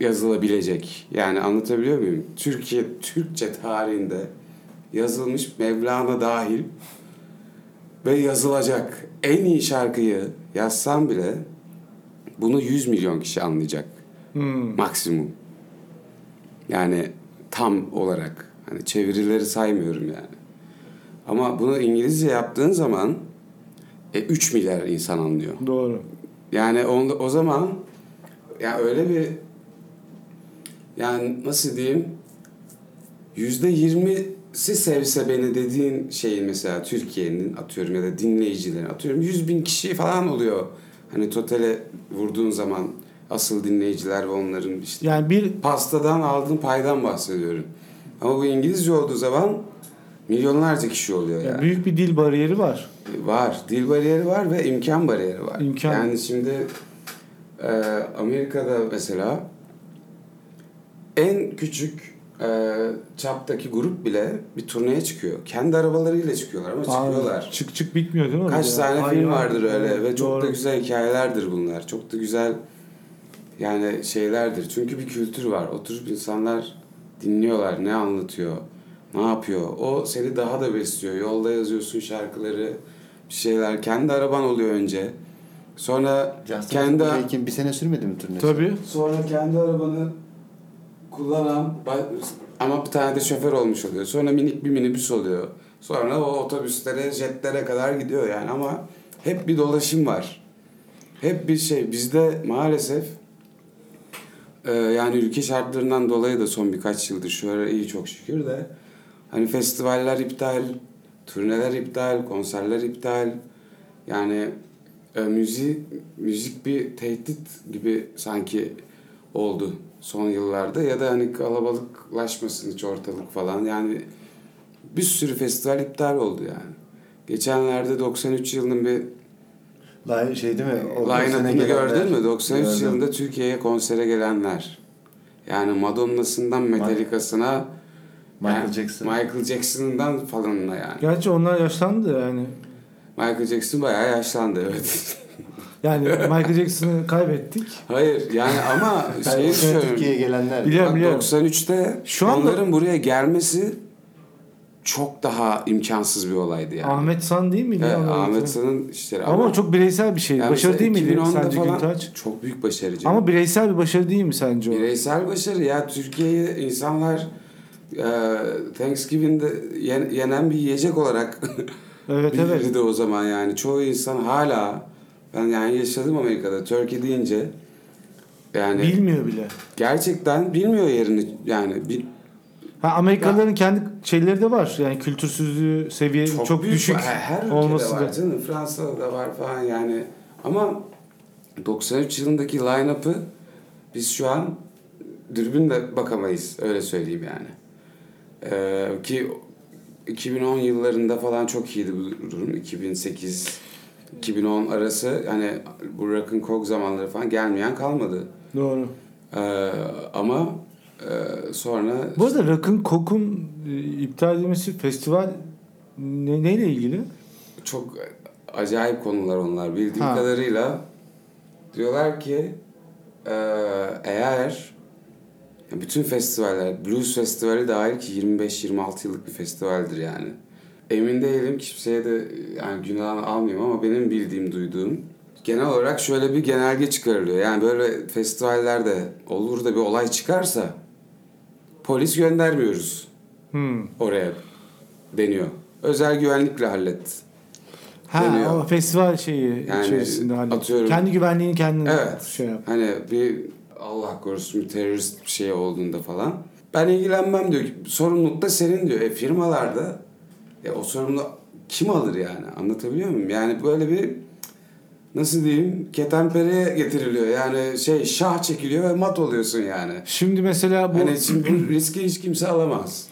[SPEAKER 4] yazılabilecek. Yani anlatabiliyor muyum? Türkiye Türkçe tarihinde yazılmış Mevlana dahil ve yazılacak en iyi şarkıyı yazsam bile bunu 100 milyon kişi anlayacak.
[SPEAKER 3] Hmm,
[SPEAKER 4] Maksimum. Yani tam olarak. Hani çevirileri saymıyorum yani. Ama bunu İngilizce yaptığın zaman e, 3 milyar insan anlıyor.
[SPEAKER 3] Doğru.
[SPEAKER 4] Yani on, o zaman ya öyle bir yani nasıl diyeyim yüzde yirmisi sevse beni dediğin şeyin mesela Türkiye'nin atıyorum ya da dinleyicilerin atıyorum yüz bin kişi falan oluyor. Hani totale vurduğun zaman asıl dinleyiciler ve onların işte
[SPEAKER 3] Yani bir
[SPEAKER 4] pastadan aldığın paydan bahsediyorum. Ama bu İngilizce olduğu zaman milyonlarca kişi oluyor yani.
[SPEAKER 3] yani büyük bir dil bariyeri var.
[SPEAKER 4] Var. Dil bariyeri var ve imkan bariyeri var.
[SPEAKER 3] İmkan.
[SPEAKER 4] Yani şimdi e, Amerika'da mesela en küçük e, çaptaki grup bile bir turneye çıkıyor. Kendi arabalarıyla çıkıyorlar ama
[SPEAKER 3] Aa,
[SPEAKER 4] çıkıyorlar.
[SPEAKER 3] Çık çık bitmiyor değil mi?
[SPEAKER 4] Kaç
[SPEAKER 3] orada?
[SPEAKER 4] tane
[SPEAKER 3] Ay,
[SPEAKER 4] film
[SPEAKER 3] ay,
[SPEAKER 4] vardır öyle
[SPEAKER 3] evet,
[SPEAKER 4] ve çok
[SPEAKER 3] doğru.
[SPEAKER 4] da güzel hikayelerdir bunlar. Çok da güzel yani şeylerdir. Çünkü bir kültür var. Oturup insanlar dinliyorlar ne anlatıyor, ne yapıyor. O seni daha da besliyor. Yolda yazıyorsun şarkıları, bir şeyler. Kendi araban oluyor önce. Sonra kendi
[SPEAKER 1] Justin bir sene sürmedi mi turnesi?
[SPEAKER 3] Tabii.
[SPEAKER 4] sonra kendi arabanı kullanan ba- ama bir tane de şoför olmuş oluyor. Sonra minik bir minibüs oluyor. Sonra o otobüslere, jetlere kadar gidiyor yani ama hep bir dolaşım var. Hep bir şey. Bizde maalesef e, yani ülke şartlarından dolayı da son birkaç yıldır şu ara iyi çok şükür de hani festivaller iptal, turneler iptal, konserler iptal. Yani e, müziği, müzik bir tehdit gibi sanki oldu son yıllarda ya da hani kalabalıklaşmasın hiç ortalık falan. Yani bir sürü festival iptal oldu yani. Geçenlerde 93 yılının bir
[SPEAKER 1] Line, şey değil mi? O sene
[SPEAKER 4] Line-up'ını
[SPEAKER 1] gelenler-
[SPEAKER 4] gördün mü? 93
[SPEAKER 1] Gördüm.
[SPEAKER 4] yılında Türkiye'ye konsere gelenler. Yani Madonna'sından Metallica'sına
[SPEAKER 1] Michael
[SPEAKER 4] yani
[SPEAKER 1] Jackson.
[SPEAKER 4] Michael Jackson'dan falanına yani.
[SPEAKER 3] Gerçi onlar yaşlandı yani.
[SPEAKER 4] Michael Jackson bayağı yaşlandı evet.
[SPEAKER 3] Yani Michael Jackson'ı kaybettik.
[SPEAKER 4] Hayır yani ama
[SPEAKER 1] Yani
[SPEAKER 4] şey
[SPEAKER 1] o sene
[SPEAKER 4] söylüyorum.
[SPEAKER 1] Türkiye'ye gelenler.
[SPEAKER 3] Biliyorum.
[SPEAKER 4] Bak 93'te
[SPEAKER 3] Şu
[SPEAKER 4] Şu
[SPEAKER 3] anda-
[SPEAKER 4] onların buraya gelmesi çok daha imkansız bir olaydı yani.
[SPEAKER 3] Ahmet San değil miydi?
[SPEAKER 4] Evet,
[SPEAKER 3] ya onun adı?
[SPEAKER 4] Ahmet San'ın işleri.
[SPEAKER 3] Ama, çok bireysel bir şey.
[SPEAKER 4] yani
[SPEAKER 3] başarı
[SPEAKER 4] mesela
[SPEAKER 3] değil miydi
[SPEAKER 4] 2010'da
[SPEAKER 3] sence
[SPEAKER 4] falan
[SPEAKER 3] Güntaç?
[SPEAKER 4] Çok büyük başarı. canım.
[SPEAKER 3] Ama bireysel bir başarı değil mi sence o?
[SPEAKER 4] Bireysel başarı ya Türkiye'yi insanlar e, Thanksgiving'de yen- yenen bir yiyecek olarak
[SPEAKER 3] Evet evet.
[SPEAKER 4] bilirdi o zaman yani. Çoğu insan hala ben yani yaşadım Amerika'da Turkey deyince yani
[SPEAKER 3] Bilmiyor bile.
[SPEAKER 4] gerçekten bilmiyor yerini yani bi-
[SPEAKER 3] Ha Amerikalıların kendi şeyleri de var. Yani kültürsüzlüğü seviye çok,
[SPEAKER 4] büyük
[SPEAKER 3] düşük
[SPEAKER 4] var. her ülkede
[SPEAKER 3] olması
[SPEAKER 4] var
[SPEAKER 3] da.
[SPEAKER 4] canım. Fransa'da da var falan yani ama 93 yılındaki line-up'ı biz şu an dürbünle bakamayız öyle söyleyeyim yani. Ee, ki 2010 yıllarında falan çok iyiydi bu durum. 2008 2010 arası hani bu rock'ın kog zamanları falan gelmeyen kalmadı.
[SPEAKER 3] Doğru.
[SPEAKER 4] Ee, ama e, sonra
[SPEAKER 3] Bu arada Rock'ın Kok'un e, iptal edilmesi festival ne, neyle ilgili?
[SPEAKER 4] çok acayip konular onlar. Bildiğim
[SPEAKER 3] Ha.
[SPEAKER 4] kadarıyla diyorlar ki e, eğer ya bütün festivaller, blues festivali dahil ki 25-26 yıllık bir festivaldir yani. Emin değilim kimseye de yani günahını almayayım ama benim bildiğim, duyduğum genel olarak şöyle bir genelge çıkarılıyor. Yani böyle festivallerde olur da bir olay çıkarsa polis göndermiyoruz
[SPEAKER 3] Hmm.
[SPEAKER 4] oraya deniyor. Özel güvenlikle hallet.
[SPEAKER 3] Ha,
[SPEAKER 4] Deniyor.
[SPEAKER 3] o festival şeyi
[SPEAKER 4] Yani
[SPEAKER 3] içerisinde hallet.
[SPEAKER 4] atıyorum-
[SPEAKER 3] Kendi güvenliğini kendin
[SPEAKER 4] Evet.
[SPEAKER 3] şey yap.
[SPEAKER 4] Hani bir Allah korusun bir terörist bir şey olduğunda falan. Ben ilgilenmem diyor. Sorumluluk da senin diyor. E firmalarda e, o sorumluluğu kim alır yani? Anlatabiliyor muyum? Yani böyle bir nasıl diyeyim ketenpereye getiriliyor. Yani şey şah çekiliyor ve mat oluyorsun yani.
[SPEAKER 3] Şimdi mesela bu
[SPEAKER 4] Hani şimdi bu riski hiç kimse alamaz.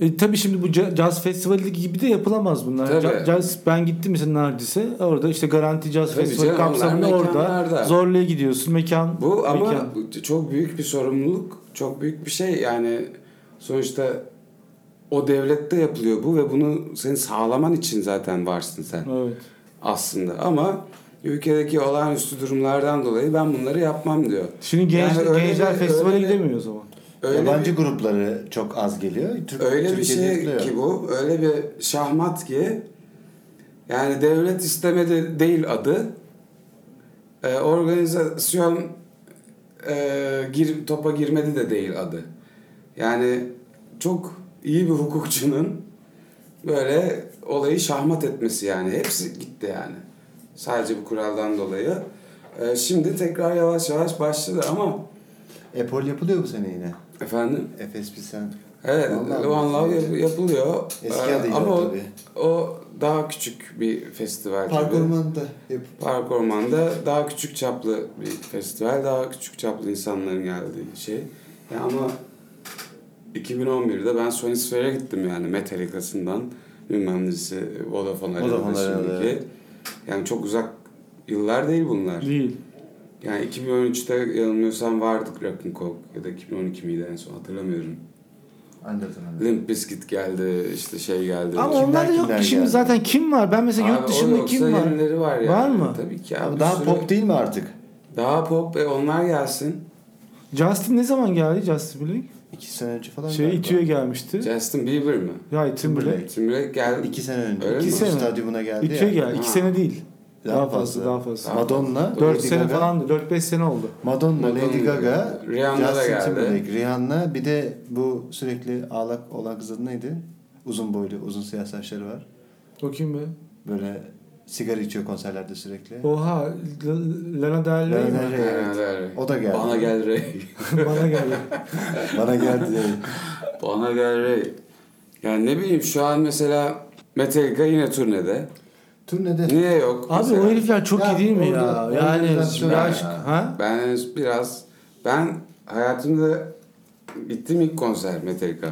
[SPEAKER 3] E, tabii şimdi bu ca- caz festivali gibi de yapılamaz bunlar.
[SPEAKER 4] Tabii.
[SPEAKER 3] Ca- Caz ben gittim mesela Nardis'e. Orada işte Garanti Caz
[SPEAKER 4] Tabii
[SPEAKER 3] Festivali
[SPEAKER 4] canım, onlar
[SPEAKER 3] kapsamında orada
[SPEAKER 4] mekanlarda.
[SPEAKER 3] zorluya gidiyorsun mekan.
[SPEAKER 4] Bu ama
[SPEAKER 3] mekan.
[SPEAKER 4] bu çok büyük bir sorumluluk, çok büyük bir şey. Yani sonuçta o devlette yapılıyor bu ve bunu senin sağlaman için zaten varsın sen
[SPEAKER 3] Evet.
[SPEAKER 4] aslında. Ama ülkedeki olağanüstü durumlardan dolayı ben bunları yapmam diyor.
[SPEAKER 3] Şimdi genç,
[SPEAKER 4] Yani öyle
[SPEAKER 3] gençler
[SPEAKER 4] bir-
[SPEAKER 3] festivale
[SPEAKER 4] öyle bir-
[SPEAKER 3] gidemiyor o zaman.
[SPEAKER 4] Öyle bir-
[SPEAKER 1] Yabancı grupları çok az geliyor. Türk,
[SPEAKER 4] Öyle bir
[SPEAKER 1] Türkiye'de
[SPEAKER 4] şey
[SPEAKER 1] yapılıyor.
[SPEAKER 4] ki bu. Öyle bir şahmat ki yani devlet istemedi değil adı. Ee, organizasyon e, gir, topa girmedi de değil adı. Yani çok iyi bir hukukçunun böyle olayı şahmat etmesi yani. Hepsi gitti yani. Sadece bu kuraldan dolayı. Ee, şimdi tekrar yavaş yavaş başladı ama
[SPEAKER 1] Epol E, yapılıyor bu sene yine.
[SPEAKER 4] efendim
[SPEAKER 1] FSP sen.
[SPEAKER 4] Evet,
[SPEAKER 1] Vallahi
[SPEAKER 4] One Love
[SPEAKER 1] evet.
[SPEAKER 4] yap- yapılıyor.
[SPEAKER 1] Eski
[SPEAKER 4] Ee,
[SPEAKER 1] adıyla
[SPEAKER 4] Ama o,
[SPEAKER 1] tabii.
[SPEAKER 4] o daha küçük bir festival
[SPEAKER 1] Park
[SPEAKER 4] gibi.
[SPEAKER 1] Ormanı'nda yap.
[SPEAKER 4] Park Orman'da daha küçük çaplı bir festival, daha küçük çaplı insanların geldiği şey. Ya ama 2011'de ben Sony Sphere'e gittim yani Metallica'sından bilmem nesi Vodafone
[SPEAKER 1] Vodafone
[SPEAKER 4] Arena'da
[SPEAKER 1] Arena'da,
[SPEAKER 4] şimdiki.
[SPEAKER 1] evet.
[SPEAKER 4] Yani çok uzak yıllar değil bunlar.
[SPEAKER 3] Değil.
[SPEAKER 4] Yani 2013'te yanılmıyorsam vardık Rock'n Coke ya da 2012 miydi en son hatırlamıyorum.
[SPEAKER 1] Anladım. anladım.
[SPEAKER 4] Limp Bizkit geldi, işte şey geldi.
[SPEAKER 3] Ama
[SPEAKER 1] Kimler
[SPEAKER 3] onlar da yok
[SPEAKER 1] kimler
[SPEAKER 3] ki şimdi
[SPEAKER 1] geldi?
[SPEAKER 3] zaten kim var? Ben mesela
[SPEAKER 4] Abi
[SPEAKER 3] yurt
[SPEAKER 4] o
[SPEAKER 3] dışında
[SPEAKER 4] yoksa
[SPEAKER 3] kim var?
[SPEAKER 4] yenileri var yani.
[SPEAKER 3] Var mı?
[SPEAKER 4] Tabii ki abi.
[SPEAKER 1] Abi
[SPEAKER 4] bir
[SPEAKER 1] daha
[SPEAKER 4] sürü-
[SPEAKER 1] pop değil mi artık?
[SPEAKER 4] Daha pop. E onlar gelsin.
[SPEAKER 3] Justin ne zaman geldi Justin Bieber?
[SPEAKER 1] İki sene önce falan
[SPEAKER 3] Şey
[SPEAKER 1] galiba.
[SPEAKER 3] İTÜ'ye gelmişti.
[SPEAKER 4] Justin Bieber mi?
[SPEAKER 3] Ya Timberlake.
[SPEAKER 1] Timberlake.
[SPEAKER 4] Timberlake geldi.
[SPEAKER 1] İki sene önce.
[SPEAKER 4] Öyle
[SPEAKER 1] İki
[SPEAKER 4] mi?
[SPEAKER 1] sene. Stadyumuna geldi ya.
[SPEAKER 3] İTÜ'ye geldi. İki
[SPEAKER 4] Ha.
[SPEAKER 3] sene değil. Daha,
[SPEAKER 1] Daha
[SPEAKER 3] fazla,
[SPEAKER 1] fazla.
[SPEAKER 3] daha fazla.
[SPEAKER 1] Madonna,
[SPEAKER 3] Dört
[SPEAKER 1] Lady
[SPEAKER 3] sene
[SPEAKER 1] Gaga,
[SPEAKER 3] falandı. Dört beş sene oldu.
[SPEAKER 1] Madonna,
[SPEAKER 4] Madonna,
[SPEAKER 1] Lady Gaga,
[SPEAKER 4] Rihanna da geldi.
[SPEAKER 1] Justin Timberlake, Rihanna bir de bu sürekli ağlak olan kızın neydi? Uzun boylu, uzun siyah saçları var.
[SPEAKER 3] Bakayım be.
[SPEAKER 1] Böyle Sigara içiyor konserlerde sürekli.
[SPEAKER 3] Oha L- Lana Del Rey
[SPEAKER 1] Lana
[SPEAKER 3] mi?
[SPEAKER 1] Del Rey, evet. O da geldi.
[SPEAKER 4] Bana gel Rey.
[SPEAKER 3] Bana geldi.
[SPEAKER 1] Bana geldi. yani.
[SPEAKER 4] Bana gel Rey. Yani ne bileyim şu an mesela Metallica yine turnede.
[SPEAKER 1] Turnede
[SPEAKER 4] Niye yok?
[SPEAKER 3] Abi
[SPEAKER 4] mesela?
[SPEAKER 3] o herifler çok
[SPEAKER 1] Ya,
[SPEAKER 3] iyi değil mi ya?
[SPEAKER 1] orada-
[SPEAKER 3] yani
[SPEAKER 1] organizasyon-
[SPEAKER 3] birazcık
[SPEAKER 1] Ya.
[SPEAKER 3] ha?
[SPEAKER 4] Ben henüz biraz ben hayatımda gittim ilk konser Metallica.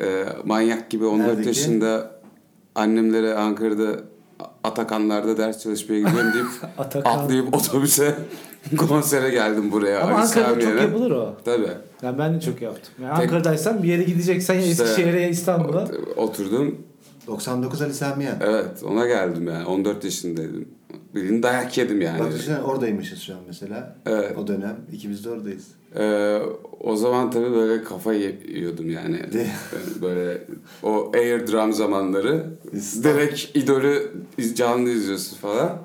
[SPEAKER 4] Ee, manyak gibi 14
[SPEAKER 1] Neredeki?
[SPEAKER 4] yaşında annemlere Ankara'da Atakanlar'da ders çalışmaya gidiyorum deyip
[SPEAKER 3] Atakan.
[SPEAKER 4] atlayıp otobüse konsere geldim buraya.
[SPEAKER 3] Ama
[SPEAKER 4] Ali
[SPEAKER 3] Ankara'da çok
[SPEAKER 4] Samiye'ne.
[SPEAKER 3] yapılır o.
[SPEAKER 4] Tabii.
[SPEAKER 3] Yani ben de çok yaptım. Yani
[SPEAKER 4] Tek-
[SPEAKER 3] Ankara'daysan bir yere gideceksen ya
[SPEAKER 4] İşte-
[SPEAKER 3] Eskişehir'e ya İstanbul'a.
[SPEAKER 4] Oturdum.
[SPEAKER 1] 99 Ali Sami Yen.
[SPEAKER 4] Evet ona geldim yani. 14 yaşındaydım. Bildiğin dayak yedim yani.
[SPEAKER 1] Bak düşünsene oradaymışız şu an mesela.
[SPEAKER 4] Evet.
[SPEAKER 1] O dönem ikimiz de oradayız.
[SPEAKER 4] Ee, o zaman tabii böyle kafayı yiyordum yani. Ee,
[SPEAKER 1] De-
[SPEAKER 4] böyle o air drum zamanları
[SPEAKER 1] İstanbul.
[SPEAKER 4] direkt idolü iz- canlı izliyorsun falan.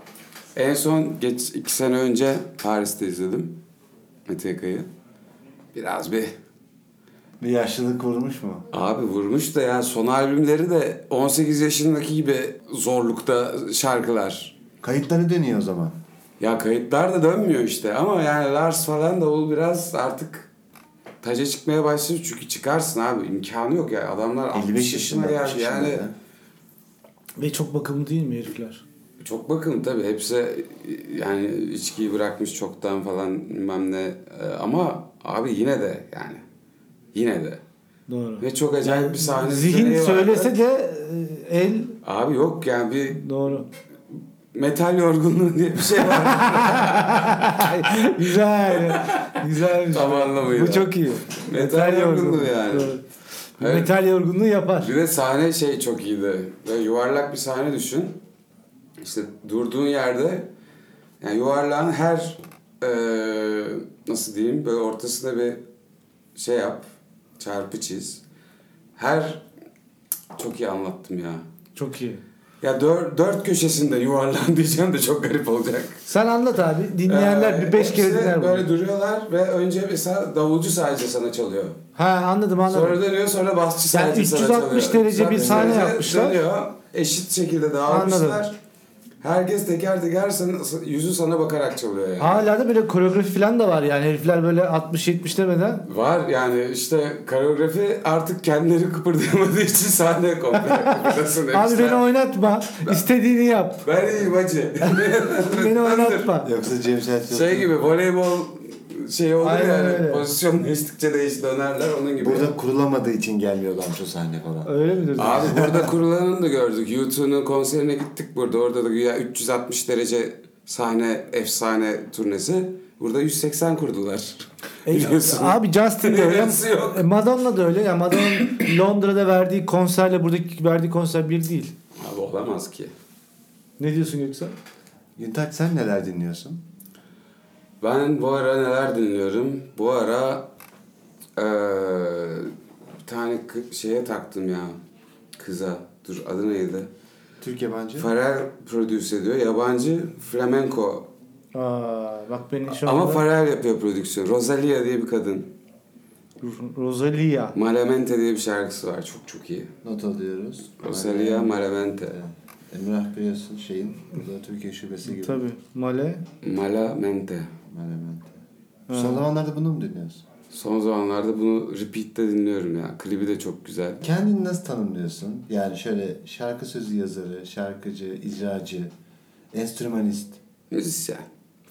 [SPEAKER 4] En son geç iki sene önce Paris'te izledim Metallica'yı. Biraz bir
[SPEAKER 1] Bir yaşlılık vurmuş mu?
[SPEAKER 4] Abi vurmuş da ya son albümleri de 18 yaşındaki gibi zorlukta şarkılar.
[SPEAKER 1] Kayıtları dönüyor o zaman.
[SPEAKER 4] Ya kayıtlar da dönmüyor işte ama yani Lars falan davul biraz artık taca çıkmaya başladı çünkü çıkarsın abi imkanı yok ya adamlar
[SPEAKER 1] 55
[SPEAKER 4] 60 yaşına
[SPEAKER 1] yaşında.
[SPEAKER 4] geldi
[SPEAKER 1] 60 yaşında
[SPEAKER 4] yani
[SPEAKER 1] da.
[SPEAKER 3] Ve çok bakımlı değil mi herifler?
[SPEAKER 4] çok bakın tabii hepsi yani içkiyi bırakmış çoktan falan bilmem ne Ee, ama abi yine de yani yine de
[SPEAKER 3] Doğru.
[SPEAKER 4] ve çok acayip bir sahne
[SPEAKER 3] Zihin
[SPEAKER 4] düzeni var.
[SPEAKER 3] söylese de e, el
[SPEAKER 4] abi yok yani bir
[SPEAKER 3] doğru.
[SPEAKER 4] metal yorgunluğu diye bir şey var
[SPEAKER 3] güzel. Güzel. şey.
[SPEAKER 4] Tam anlamıyla.
[SPEAKER 3] Bu çok iyi.
[SPEAKER 4] Metal yorgunluğu yani.
[SPEAKER 3] Doğru.
[SPEAKER 4] Evet.
[SPEAKER 3] Metal yorgunluğu yapar.
[SPEAKER 4] Bir de sahne şey çok iyiydi. Böyle yuvarlak bir sahne düşün. İşte durduğun yerde yani yuvarlağın her eee, nasıl diyeyim böyle ortasına bir şey yap. Çarpı çiz. Her çok iyi anlattım ya.
[SPEAKER 3] Çok iyi.
[SPEAKER 4] Ya dört, dört köşesinde yuvarlan diyeceğim de çok garip olacak.
[SPEAKER 3] Sen anlat abi. Dinleyenler
[SPEAKER 4] Ee,
[SPEAKER 3] bir beş kere
[SPEAKER 4] hepsi
[SPEAKER 3] dinler
[SPEAKER 4] Böyle
[SPEAKER 3] bunu.
[SPEAKER 4] duruyorlar ve önce mesela davulcu sadece sana çalıyor.
[SPEAKER 3] Ha anladım anladım.
[SPEAKER 4] Sonra dönüyor sonra basçı
[SPEAKER 3] Yani
[SPEAKER 4] sadece sana
[SPEAKER 3] 360
[SPEAKER 4] çalıyor.
[SPEAKER 3] derece bir
[SPEAKER 4] 360
[SPEAKER 3] sahne
[SPEAKER 4] derece
[SPEAKER 3] yapmışlar.
[SPEAKER 4] Dönüyor. Eşit şekilde
[SPEAKER 3] Anladım.
[SPEAKER 4] dağılmışlar. Herkes teker teker sana- yüzü sana bakarak çalıyor yani.
[SPEAKER 3] Hala da böyle koreografi falan da var yani herifler böyle 60-70 demeden.
[SPEAKER 4] Var yani işte koreografi artık kendileri kıpırdayamadığı için sahne komple kıpırdasın
[SPEAKER 3] Abi
[SPEAKER 4] demişler.
[SPEAKER 3] beni oynatma. istediğini yap.
[SPEAKER 4] Ben iyiyim hacı.
[SPEAKER 3] beni oynatma.
[SPEAKER 1] Yoksa James Hetfield.
[SPEAKER 4] şey gibi voleybol şey oldu
[SPEAKER 3] Aynen
[SPEAKER 4] yani
[SPEAKER 3] öyle.
[SPEAKER 4] pozisyon değiştikçe değiş dönerler onun gibi.
[SPEAKER 1] Burada kurulamadığı için gelmiyorlar şu sahne falan.
[SPEAKER 3] Öyle mi diyorsun?
[SPEAKER 4] Abi burada kurulanını da gördük. YouTube'un konserine gittik burada. Orada da güya 360 derece sahne, efsane turnesi. Burada 180 kurdular.
[SPEAKER 3] E,
[SPEAKER 4] Biliyorsun.
[SPEAKER 3] abi Justin de öyle.
[SPEAKER 4] Alakası yok.
[SPEAKER 3] E, Madonna da öyle. Yani Madonna'nın Londra'da verdiği konserle buradaki verdiği konser bir değil.
[SPEAKER 4] Abi olamaz ki.
[SPEAKER 3] Ne diyorsun Göksel?
[SPEAKER 1] Güntaç sen neler dinliyorsun?
[SPEAKER 4] Ben bu ara neler dinliyorum? Bu ara eee, bir tane kı- şeye taktım ya. Kıza. Dur adı neydi?
[SPEAKER 1] Türk yabancı.
[SPEAKER 4] Farel prodüse ediyor. Yabancı flamenco.
[SPEAKER 3] Aa, bak beni şu
[SPEAKER 4] Ama
[SPEAKER 3] anda...
[SPEAKER 4] Farel yapıyor prodüksiyon. Rosalia diye bir kadın.
[SPEAKER 3] Ro- Rosalia.
[SPEAKER 4] Malamente diye bir şarkısı var. Çok çok iyi.
[SPEAKER 1] Not alıyoruz.
[SPEAKER 4] Rosalia Malamente.
[SPEAKER 1] Emrah biliyorsun şeyin burada Türkiye şubesi gibi.
[SPEAKER 3] Tabii. Male.
[SPEAKER 4] Malamente.
[SPEAKER 1] Melement. Son zamanlarda bunu mu dinliyorsun?
[SPEAKER 4] Son zamanlarda bunu repeat'te dinliyorum ya. Klibi de çok güzel.
[SPEAKER 1] Kendini nasıl tanımlıyorsun? Yani şöyle şarkı sözü yazarı, şarkıcı, icracı, enstrümanist.
[SPEAKER 4] Müzisyen.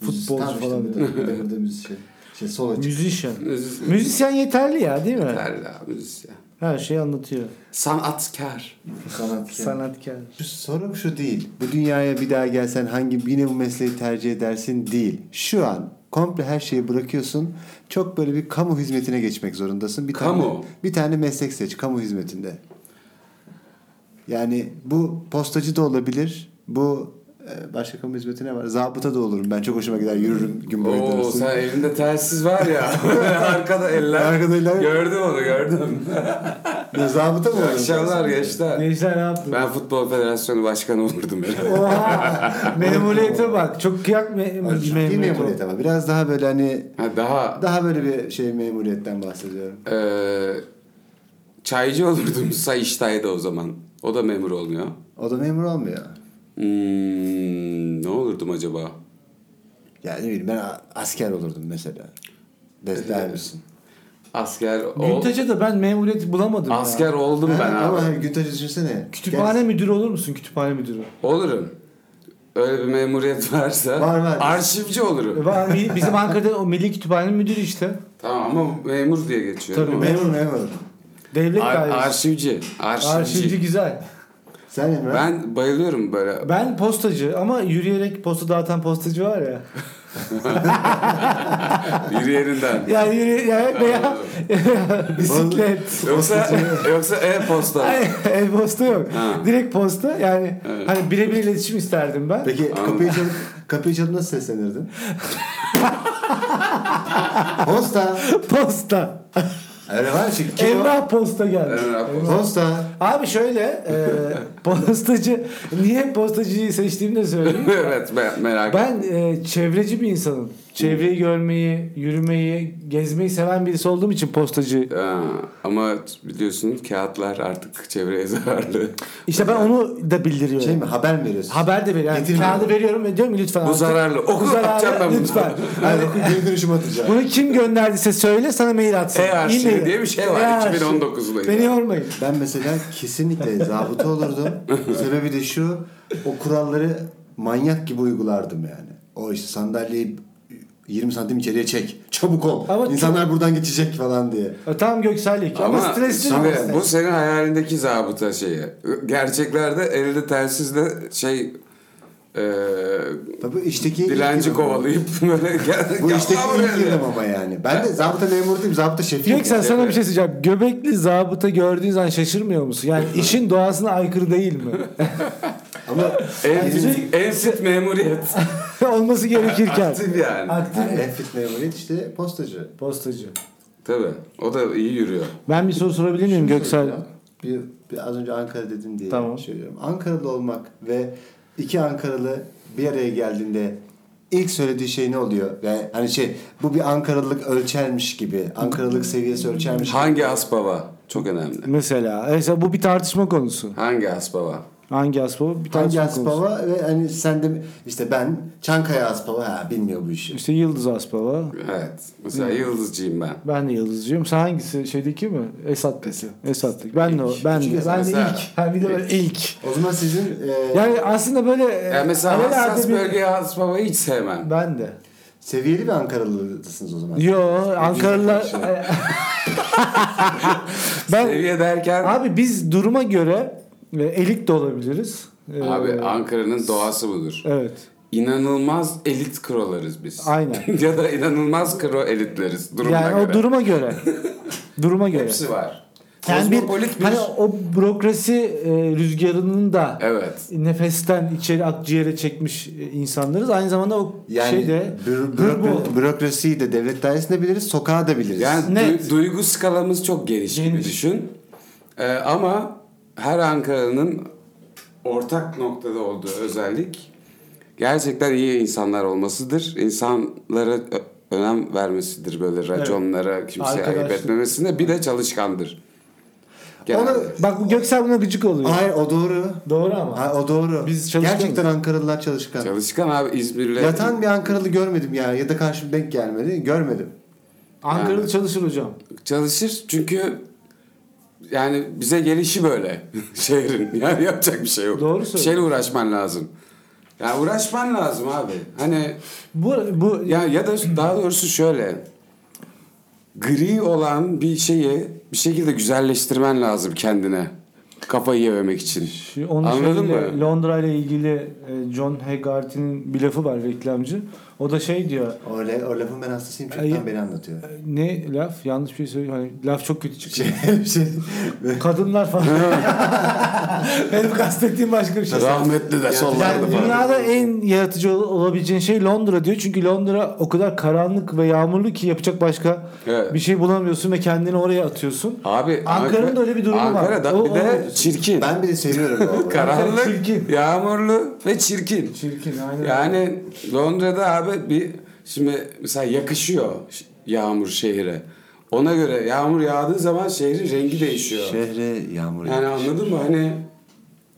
[SPEAKER 3] Futbolcu
[SPEAKER 1] Tam işte
[SPEAKER 3] falan.
[SPEAKER 1] bu da- bu da- bu da müzisyen. Şey sol açık.
[SPEAKER 3] Müzisyen.
[SPEAKER 4] Müzisyen.
[SPEAKER 3] Müzisyen yeterli ya değil mi?
[SPEAKER 4] Terla müzisyen.
[SPEAKER 3] Her şeyi anlatıyor.
[SPEAKER 4] Sanatkar.
[SPEAKER 1] Sanatkar.
[SPEAKER 3] Sanatkar.
[SPEAKER 1] Şu sorum şu değil. Bu dünyaya bir daha gelsen hangi yine bu mesleği tercih edersin değil. Şu an komple her şeyi bırakıyorsun. Çok böyle bir kamu hizmetine geçmek zorundasın. Bir Tane,
[SPEAKER 4] Kamu?
[SPEAKER 1] bir tane meslek seç kamu hizmetinde. Yani bu postacı da olabilir. Bu e, başka kamu hizmeti ne var? Zabıta da olurum. Ben çok hoşuma gider yürürüm gün boyu.
[SPEAKER 4] Oo
[SPEAKER 1] arası.
[SPEAKER 4] sen elinde telsiz var ya. Arkada eller.
[SPEAKER 1] Arkada eller.
[SPEAKER 4] Gördüm onu gördüm.
[SPEAKER 1] Ne, zabıta mı olurum?
[SPEAKER 4] Akşamlar gençler.
[SPEAKER 3] Gençler ne yaptın?
[SPEAKER 4] Ben Futbol Federasyonu Başkanı olurdum herhalde.
[SPEAKER 3] Oha! memuriyete bak. Çok kıyak me-
[SPEAKER 1] Bir
[SPEAKER 3] memuriyet.
[SPEAKER 1] memuriyet
[SPEAKER 3] o.
[SPEAKER 1] ama. Biraz daha böyle hani
[SPEAKER 4] Ha, daha e,
[SPEAKER 1] daha böyle bir şey memuriyetten bahsediyorum.
[SPEAKER 4] eee, çaycı olurdum Sayıştay'da o zaman. O da memur olmuyor.
[SPEAKER 1] O da memur olmuyor.
[SPEAKER 4] Hmm, ne olurdum acaba?
[SPEAKER 1] Yani ne bileyim ben a- asker olurdum mesela. Destek misin?
[SPEAKER 4] Asker ol...
[SPEAKER 3] Güntaç'a da ben memuriyet bulamadım ya.
[SPEAKER 4] Asker oldum ben
[SPEAKER 1] Ha, Ama
[SPEAKER 4] abi.
[SPEAKER 1] hani Güntaç'ı düşünsene.
[SPEAKER 3] Kütüphane müdürü olur musun kütüphane müdürü?
[SPEAKER 4] Olurum. Öyle bir memuriyet varsa
[SPEAKER 1] Var, var.
[SPEAKER 4] arşivci olurum.
[SPEAKER 3] E, Var, mi- Bizim Ankara'da o Milli Kütüphane'nin müdürü işte.
[SPEAKER 4] Tamam ama memur diye geçiyor.
[SPEAKER 3] Tabii,
[SPEAKER 4] değil mi?
[SPEAKER 1] Memur memur.
[SPEAKER 3] Devlet
[SPEAKER 4] Ar-
[SPEAKER 3] dairesi.
[SPEAKER 4] arşivci. Arşivci.
[SPEAKER 3] Arşivci güzel.
[SPEAKER 1] Sen Emre.
[SPEAKER 4] Ben bayılıyorum böyle.
[SPEAKER 3] Ben postacı ama yürüyerek posta dağıtan postacı var ya.
[SPEAKER 4] Yürü yerinden.
[SPEAKER 3] Yani yürüyerek veya bisiklet.
[SPEAKER 4] yoksa yoksa e-posta.
[SPEAKER 3] Ay, el posta yok.
[SPEAKER 4] Ha.
[SPEAKER 3] Direkt posta yani
[SPEAKER 4] Evet.
[SPEAKER 3] hani birebir iletişim isterdim ben.
[SPEAKER 1] Peki
[SPEAKER 4] Anladım.
[SPEAKER 1] kapıyı çalıp, kapıyı çalıp nasıl seslenirdin? Posta.
[SPEAKER 3] Posta.
[SPEAKER 1] Öyle var çünkü. kim o?
[SPEAKER 3] Emrah posta geldi.
[SPEAKER 4] Emrah Posta.
[SPEAKER 1] Posta.
[SPEAKER 3] Abi şöyle e, postacı niye postacıyı seçtiğimi de söyleyeyim.
[SPEAKER 4] evet ben merak
[SPEAKER 3] Ben e, çevreci bir insanım. Çevreyi görmeyi, yürümeyi, gezmeyi seven birisi olduğum için postacı.
[SPEAKER 4] Ha, ama biliyorsun kağıtlar artık çevreye zararlı.
[SPEAKER 3] İşte ben onu da bildiriyorum.
[SPEAKER 1] Şey mi haber mi veriyorsun?
[SPEAKER 3] Haber de veriyorum. Yani
[SPEAKER 1] Getirme.
[SPEAKER 3] kağıdı veriyorum ve diyorum ki lütfen.
[SPEAKER 4] Bu
[SPEAKER 3] artık-
[SPEAKER 4] zararlı. Oku,
[SPEAKER 3] Bu
[SPEAKER 4] atacağım ben bunu.
[SPEAKER 3] Lütfen.
[SPEAKER 1] Hayır okul geri dönüşüm atacağım.
[SPEAKER 3] Bunu kim gönderdiyse söyle sana mail atsın.
[SPEAKER 4] E-arşivi
[SPEAKER 3] E-mail.
[SPEAKER 4] diye bir şey var,
[SPEAKER 3] E-arşiv.
[SPEAKER 4] 2019'da.
[SPEAKER 3] Beni yormayın.
[SPEAKER 1] Ben mesela kesinlikle zabıta olurdum. Sebebi de şu. O kuralları manyak gibi uygulardım yani. O işte sandalyeyi 20 santim içeriye çek. Çabuk ol.
[SPEAKER 3] Ama
[SPEAKER 1] İnsanlar buradan geçecek falan diye.
[SPEAKER 3] E, Tam Göksel'lik. Ama,
[SPEAKER 4] Ama
[SPEAKER 3] stresli.
[SPEAKER 4] şimdi
[SPEAKER 3] ama-
[SPEAKER 4] bu senin hayalindeki zabıta şeyi. Gerçeklerde elde telsizle şey e,
[SPEAKER 1] Tabii işteki ilk
[SPEAKER 4] dilenci
[SPEAKER 1] yılım.
[SPEAKER 4] kovalayıp böyle gel,
[SPEAKER 1] Bu
[SPEAKER 4] gel
[SPEAKER 1] işteki
[SPEAKER 4] lan buraya
[SPEAKER 1] ilk
[SPEAKER 4] diye.
[SPEAKER 1] yılım ama yani. Ben de zabıta memuru değilim. Zabıta şefiyim.
[SPEAKER 3] Göksel sana bir şey söyleyeceğim. Göbekli zabıta gördüğün zaman şaşırmıyor musun? Yani işin doğasına aykırı değil mi?
[SPEAKER 1] Ama
[SPEAKER 4] En fit, en fit memuriyet.
[SPEAKER 3] Olması gerekirken.
[SPEAKER 4] Aktif yani.
[SPEAKER 3] Aktif
[SPEAKER 1] yani
[SPEAKER 3] mi?
[SPEAKER 1] en fit memuriyet işte postacı.
[SPEAKER 3] Postacı.
[SPEAKER 4] Tabii. O da iyi yürüyor.
[SPEAKER 3] Ben bir soru sorabilir miyim Göksel?
[SPEAKER 1] Ya, Bir, bir az önce Ankara dedim diye
[SPEAKER 3] Tamam.
[SPEAKER 1] söylüyorum. Ankaralı olmak ve iki Ankaralı bir araya geldiğinde ilk söylediği şey ne oluyor? Yani hani şey bu bir Ankaralılık ölçermiş gibi. Ankaralılık seviyesi ölçermiş gibi.
[SPEAKER 4] Hangi asbaba? Çok önemli.
[SPEAKER 3] Mesela. Mesela bu bir tartışma konusu.
[SPEAKER 4] Hangi asbaba?
[SPEAKER 3] Hangi asbaba? Bir
[SPEAKER 1] Hangi
[SPEAKER 3] tartışma konusu.
[SPEAKER 1] Aspava ve hani sen de işte ben Çankaya Aspava ha bilmiyor bu işi.
[SPEAKER 3] İşte Yıldız Aspava.
[SPEAKER 4] Evet.
[SPEAKER 3] Hmm.
[SPEAKER 4] Mesela yıldızcıyım ben.
[SPEAKER 3] Ben de Yıldızcıyım. Sen hangisi? Şeydeki mi? Esat'taki. Esat'taki. Ben de o. Ben de.
[SPEAKER 1] Küçük
[SPEAKER 3] Ben de
[SPEAKER 4] Esat.
[SPEAKER 3] ilk. Ha, bir de ben ilk.
[SPEAKER 1] O zaman sizin e,
[SPEAKER 3] Yani aslında böyle e,
[SPEAKER 4] Yani mesela
[SPEAKER 3] alelade
[SPEAKER 4] hassas
[SPEAKER 3] bir-
[SPEAKER 4] bölgeye asbabayı hiç sevmem.
[SPEAKER 3] Ben de.
[SPEAKER 1] seviyeli bir Ankaralısınız o zaman.
[SPEAKER 3] Yo Ankaralılar ben
[SPEAKER 4] Seviye derken abi,
[SPEAKER 3] abi biz duruma göre e, elit de olabiliriz. E,
[SPEAKER 4] Ankara'nın doğası budur.
[SPEAKER 3] evet.
[SPEAKER 4] İnanılmaz elit krolarız biz.
[SPEAKER 3] Aynen.
[SPEAKER 4] ya da inanılmaz kro elitleriz durumuna
[SPEAKER 3] Yani
[SPEAKER 4] göre.
[SPEAKER 3] o duruma göre. duruma göre.
[SPEAKER 4] Hepsi var.
[SPEAKER 3] Yani bir,
[SPEAKER 4] Kozmopolit bir...
[SPEAKER 3] hani o bürokrasi e, rüzgarının da
[SPEAKER 4] Evet.
[SPEAKER 3] nefesten içeri akciğere çekmiş e, insanlarız. Aynı zamanda o
[SPEAKER 1] Yani
[SPEAKER 3] şeyde
[SPEAKER 1] bürok-
[SPEAKER 3] hırbo-
[SPEAKER 1] bürokrasiyi de devlet dairesinde biliriz, sokağa da biliriz.
[SPEAKER 4] Yani du-
[SPEAKER 3] Net.
[SPEAKER 4] duygu skalamız çok geniş gibi
[SPEAKER 3] Geniş.
[SPEAKER 4] düşün. Ee, ama her Ankara'nın ortak noktada olduğu özellik gerçekten iyi insanlar olmasıdır. İnsanlara ö- önem vermesidir böyle raconlara kimseye ayıp
[SPEAKER 3] Arkadaşlık.
[SPEAKER 4] etmemesine bir de çalışkandır. Genelde.
[SPEAKER 1] Onu-
[SPEAKER 3] Bak bu Göksel buna gıcık oluyor.
[SPEAKER 1] Hayır o doğru.
[SPEAKER 3] Doğru ama.
[SPEAKER 1] Ha, o doğru.
[SPEAKER 3] Biz çalışkan
[SPEAKER 1] Gerçekten Ankaralılar çalışkan.
[SPEAKER 4] Çalışkan abi İzmir'le
[SPEAKER 1] Yatan bir Ankaralı görmedim yani ya da karşıma denk gelmedi. Görmedim.
[SPEAKER 3] Ankaralı çalışır hocam.
[SPEAKER 4] çalışır çünkü yani bize gelişi böyle şehrin. Yani yapacak bir şey yok.
[SPEAKER 3] Doğru
[SPEAKER 4] Bir
[SPEAKER 3] söylüyorsun.
[SPEAKER 4] şeyle uğraşman lazım. Ya uğraşman lazım abi. Hani
[SPEAKER 3] Bu bu
[SPEAKER 4] ya ya da daha doğrusu şöyle gri olan bir şeyi bir şekilde güzelleştirmen lazım kendine. Kafayı yememek için.
[SPEAKER 3] Şu- Onun
[SPEAKER 4] Anladın
[SPEAKER 3] şeyiyle,
[SPEAKER 4] mı?
[SPEAKER 3] Londra ile ilgili e, John Hegarty'nin bir lafı var reklamcı. O da şey diyor.
[SPEAKER 1] O, la- o lafın ben hastasıyım çoktan
[SPEAKER 3] Ay-
[SPEAKER 1] beri anlatıyor.
[SPEAKER 3] e, Ne laf? Yanlış bir şey söylüyor. Hani laf çok kötü çıkıyor.
[SPEAKER 1] şey,
[SPEAKER 3] Kadınlar falan. Benim kastettiğim başka bir şey.
[SPEAKER 4] Rahmetli de sollardı
[SPEAKER 3] Yani
[SPEAKER 4] falan.
[SPEAKER 3] dünyada en yaratıcı ol- olabileceğin şey Londra diyor. Çünkü Londra o kadar karanlık ve yağmurlu ki yapacak başka
[SPEAKER 4] Evet.
[SPEAKER 3] bir şey bulamıyorsun ve kendini oraya atıyorsun.
[SPEAKER 4] Abi
[SPEAKER 3] Ankara'nın da öyle bir durumu var.
[SPEAKER 4] Ankara'da
[SPEAKER 3] O-
[SPEAKER 4] bir de
[SPEAKER 3] o-
[SPEAKER 4] çirkin.
[SPEAKER 1] ben bile seviyorum o olayı.
[SPEAKER 4] Karanlık,
[SPEAKER 3] Çirkin.
[SPEAKER 4] yağmurlu ve çirkin.
[SPEAKER 3] Çirkin aynen.
[SPEAKER 4] Yani Londra'da abi bir şimdi mesela yakışıyor ş- yağmur şehre. Ona göre
[SPEAKER 3] Şey-
[SPEAKER 4] yağmur yağdığı zaman şehrin rengi değişiyor.
[SPEAKER 1] Şehre yağmur
[SPEAKER 4] Yani
[SPEAKER 1] yağıyor.
[SPEAKER 4] anladın mı? Hani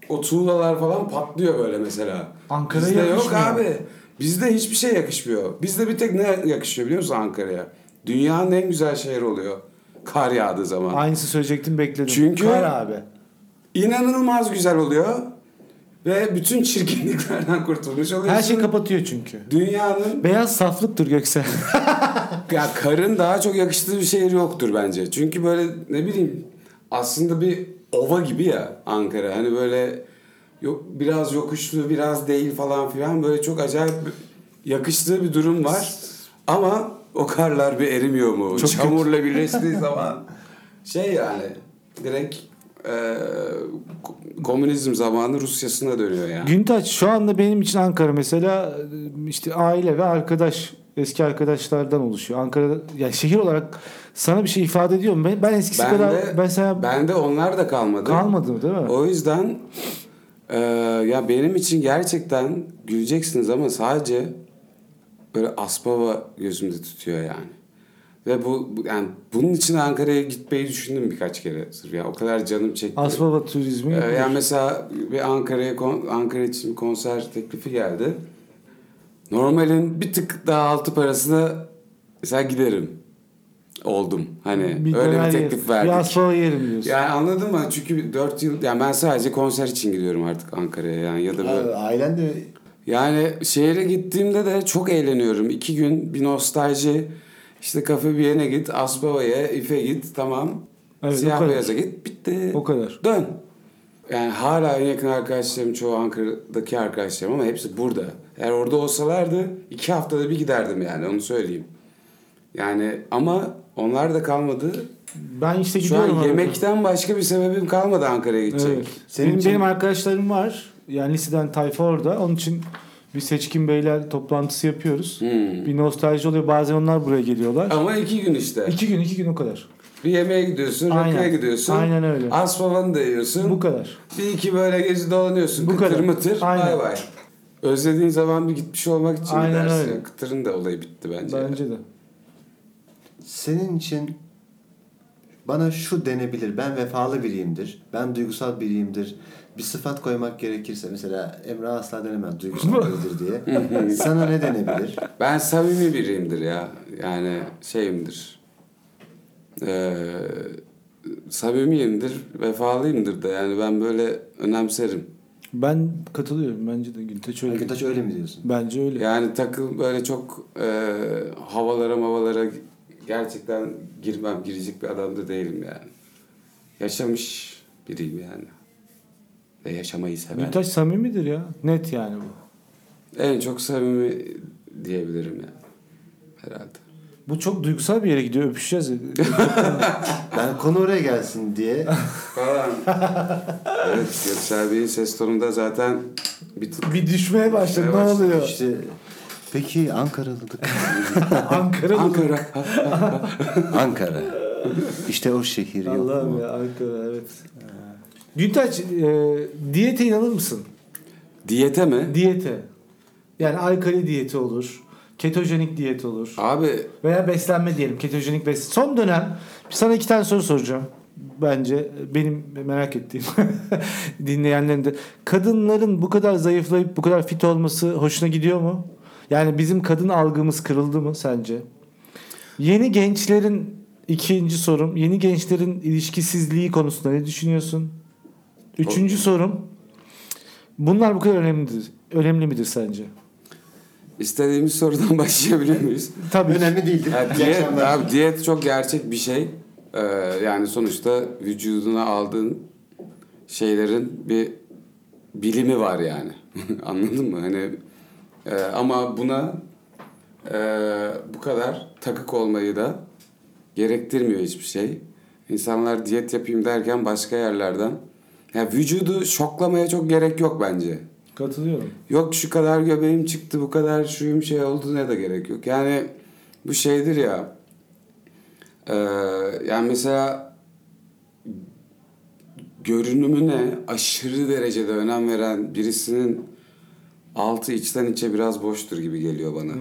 [SPEAKER 4] o tuğlalar falan patlıyor böyle mesela.
[SPEAKER 3] Ankara'ya
[SPEAKER 4] Bizde yok
[SPEAKER 3] yakışmıyor.
[SPEAKER 4] abi. Bizde hiçbir şey yakışmıyor. Bizde bir tek ne yakışıyor biliyor musun Ankara'ya? Dünyanın en güzel şehri oluyor. Kar yağdığı zaman.
[SPEAKER 3] Aynısı söyleyecektim bekledim.
[SPEAKER 4] Çünkü-
[SPEAKER 3] Kar abi.
[SPEAKER 4] İnanılmaz güzel oluyor. Ve bütün çirkinliklerden kurtulmuş oluyorsun.
[SPEAKER 3] Her şey kapatıyor çünkü.
[SPEAKER 4] Dünyanın
[SPEAKER 3] Beyaz saflıktır Göksel.
[SPEAKER 4] ya karın daha çok yakıştığı bir şehir yoktur bence. Çünkü böyle ne bileyim aslında bir ova gibi ya Ankara. Hani böyle yok biraz yokuşlu, biraz değil falan filan böyle çok acayip yakıştığı bir durum var. Ama o karlar bir erimiyor mu?
[SPEAKER 3] Çok
[SPEAKER 4] Çamurla birleştiği zaman şey yani direkt eee, ko- komünizm zamanı Rusya'sına dönüyor yani.
[SPEAKER 3] Güntaç şu anda benim için Ankara mesela işte aile ve arkadaş eski arkadaşlardan oluşuyor. Ankara ya şehir olarak sana bir şey ifade ediyor mu? Ben, ben eskisi
[SPEAKER 4] Ben
[SPEAKER 3] kadar
[SPEAKER 4] de,
[SPEAKER 3] ben sana
[SPEAKER 4] ben de onlar da kalmadı.
[SPEAKER 3] kalmadım değil mi?
[SPEAKER 4] O yüzden e, ya benim için gerçekten güleceksiniz ama sadece böyle Aspava gözümde tutuyor yani. Ve bu bu- yani bunun için Ankara'ya gitmeyi düşündüm birkaç kere sırf ya o kadar canım çekti.
[SPEAKER 3] Asbaba turizmi.
[SPEAKER 4] Ee, yani mesela bir Ankara'ya kon- Ankara için bir konser teklifi geldi. Normalin bir tık daha altı parasına mesela giderim oldum. Hani öyle
[SPEAKER 3] döner
[SPEAKER 4] bir
[SPEAKER 3] yer-
[SPEAKER 4] teklif verdik.
[SPEAKER 3] Bir asbaba yerim diyorsun.
[SPEAKER 4] Yani anladın mı? Çünkü 4 yıl yani ben sadece konser için gidiyorum artık Ankara'ya yani ya da böyle.
[SPEAKER 1] Abi, Ailen de
[SPEAKER 4] Yani şehre gittiğimde de çok eğleniyorum. İki gün bir nostalji. İşte kafe bir yere git, Asbaba'ya, İF'e git tamam.
[SPEAKER 3] Evet, o
[SPEAKER 4] Siyah
[SPEAKER 3] kadar.
[SPEAKER 4] beyaza git bitti.
[SPEAKER 3] O kadar.
[SPEAKER 4] Dön. Yani hala en yakın arkadaşlarım çoğu Ankara'daki arkadaşlarım ama hepsi burada. Eğer orada olsalardı iki haftada bir giderdim yani onu söyleyeyim. Yani ama onlar da kalmadı.
[SPEAKER 3] Ben işte
[SPEAKER 4] Şu an
[SPEAKER 3] gidiyorum. arada.
[SPEAKER 4] yemekten başka bir sebebim kalmadı Ankara'ya gidecek.
[SPEAKER 3] Evet.
[SPEAKER 1] Senin
[SPEAKER 3] benim,
[SPEAKER 1] için-
[SPEAKER 3] benim arkadaşlarım var. Yani liseden tayfa orada. Onun için bir seçkin beyler toplantısı yapıyoruz.
[SPEAKER 4] Hmm.
[SPEAKER 3] Bir nostalji oluyor. Bazen onlar buraya geliyorlar.
[SPEAKER 4] Ama iki gün işte.
[SPEAKER 3] İki gün, iki gün o kadar.
[SPEAKER 4] Bir yemeğe gidiyorsun,
[SPEAKER 3] Aynen.
[SPEAKER 4] rakıya gidiyorsun.
[SPEAKER 3] Aynen öyle.
[SPEAKER 4] Az falan da yiyorsun.
[SPEAKER 3] Bu kadar.
[SPEAKER 4] bir iki böyle gezi dolanıyorsun.
[SPEAKER 3] Bu
[SPEAKER 4] kıtır
[SPEAKER 3] kadar.
[SPEAKER 4] mıtır. Bay
[SPEAKER 3] Aynen.
[SPEAKER 4] bay. Özlediğin zaman bir gitmiş olmak için
[SPEAKER 3] Aynen
[SPEAKER 4] gidersin.
[SPEAKER 3] öyle.
[SPEAKER 4] Kıtırın da olayı bitti bence.
[SPEAKER 3] Bence de.
[SPEAKER 1] senin için bana şu denebilir. Ben vefalı biriyimdir. Ben duygusal biriyimdir. Bir sıfat koymak gerekirse mesela Emre asla denemez duygusal biridir diye. Sana ne denebilir?
[SPEAKER 4] Ben samimi biriyimdir ya. Yani şeyimdir. Ee, samimiyimdir, vefalıyımdır da. Yani ben böyle önemserim.
[SPEAKER 3] Ben katılıyorum. Bence de Günteç öyle.
[SPEAKER 1] Akıtaç öyle mi diyorsun?
[SPEAKER 3] Bence öyle.
[SPEAKER 4] Yani takıl böyle çok e, havalara havalara gerçekten girmem girecek bir adam da değilim yani. Yaşamış biriyim yani. Ve yaşamayı seven.
[SPEAKER 3] Günteç samimidir ya. Net yani bu.
[SPEAKER 4] En çok samimi diyebilirim yani. Herhalde.
[SPEAKER 3] Bu çok duygusal bir yere gidiyor. Öpüşeceğiz.
[SPEAKER 1] Ben konu oraya gelsin diye.
[SPEAKER 4] Falan. evet Göksel Bey'in ses tonunda zaten bir tık
[SPEAKER 3] bir düşmeye başladı.
[SPEAKER 4] Düşmeye
[SPEAKER 3] ne
[SPEAKER 4] başladı.
[SPEAKER 3] oluyor?
[SPEAKER 1] İşte peki Ankaralılık.
[SPEAKER 3] Ankara mı?
[SPEAKER 4] Ankara.
[SPEAKER 1] Ankara. İşte o şehir yok
[SPEAKER 3] Allah'ım
[SPEAKER 1] mu?
[SPEAKER 3] ya Ankara evet. Güntaç e, diyete inanır mısın?
[SPEAKER 4] Diyete mi?
[SPEAKER 3] Diyete. Yani alkali diyeti olur. Ketojenik diyet olur.
[SPEAKER 4] Abi
[SPEAKER 3] Veya beslenme diyelim. Ketojenik bes. Son dönem sana iki tane soru soracağım. Bence benim merak ettiğim dinleyenlerin de. Kadınların bu kadar zayıflayıp bu kadar fit olması hoşuna gidiyor mu? Yani bizim kadın algımız kırıldı mı sence? Yeni gençlerin ikinci sorum. Yeni gençlerin ilişkisizliği konusunda ne düşünüyorsun? Üçüncü sorum. Bunlar bu kadar önemlidir. Önemli midir sence?
[SPEAKER 4] istediğimiz sorudan başlayabilir miyiz?
[SPEAKER 3] Tabii.
[SPEAKER 1] Önemli değildir.
[SPEAKER 4] Ya
[SPEAKER 1] İyi
[SPEAKER 4] diyet,
[SPEAKER 1] akşamlar.
[SPEAKER 4] abi diyet çok gerçek bir şey. Ee, yani sonuçta vücuduna aldığın şeylerin bir bilimi var yani. Anladın mı? Hani e, ama buna e, bu kadar takık olmayı da gerektirmiyor hiçbir şey. İnsanlar diyet yapayım derken başka yerlerden. Ya vücudu şoklamaya çok gerek yok bence.
[SPEAKER 3] Katılıyorum.
[SPEAKER 4] Yok şu kadar göbeğim çıktı bu kadar şuyum şey oldu ne de gerek yok. Yani bu şeydir ya. Ee, yani mesela görünümüne aşırı derecede önem veren birisinin altı içten içe biraz boştur gibi geliyor bana.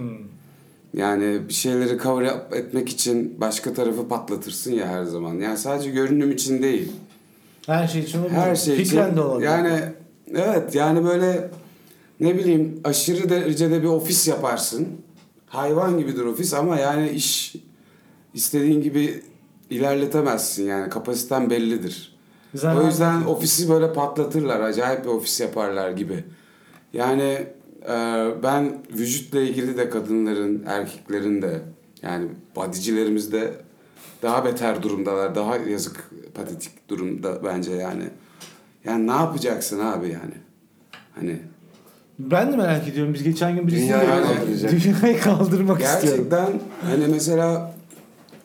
[SPEAKER 4] Yani bir şeyleri cover up etmek için başka tarafı patlatırsın ya her zaman. Yani sadece görünüm için değil.
[SPEAKER 3] Her şey için olabilir.
[SPEAKER 4] Her şey için.
[SPEAKER 3] Fikren de olabilir.
[SPEAKER 4] Yani Evet yani böyle ne bileyim aşırı derecede bir ofis yaparsın. Hayvan gibidir ofis ama yani iş istediğin gibi ilerletemezsin yani kapasiten bellidir.
[SPEAKER 3] Zaten-
[SPEAKER 4] O yüzden ofisi böyle patlatırlar acayip bir ofis yaparlar gibi. Yani e, ben vücutla ilgili de kadınların erkeklerin de yani badicilerimiz de daha beter durumdalar daha yazık patetik durumda bence yani. Yani ne yapacaksın abi yani? Hani
[SPEAKER 3] Ben de merak ediyorum. Biz geçen gün birisiyle
[SPEAKER 4] Dünyayı
[SPEAKER 3] yani
[SPEAKER 1] kaldıracak.
[SPEAKER 3] dünyayı kaldırmak istiyorum.
[SPEAKER 4] gerçekten hani mesela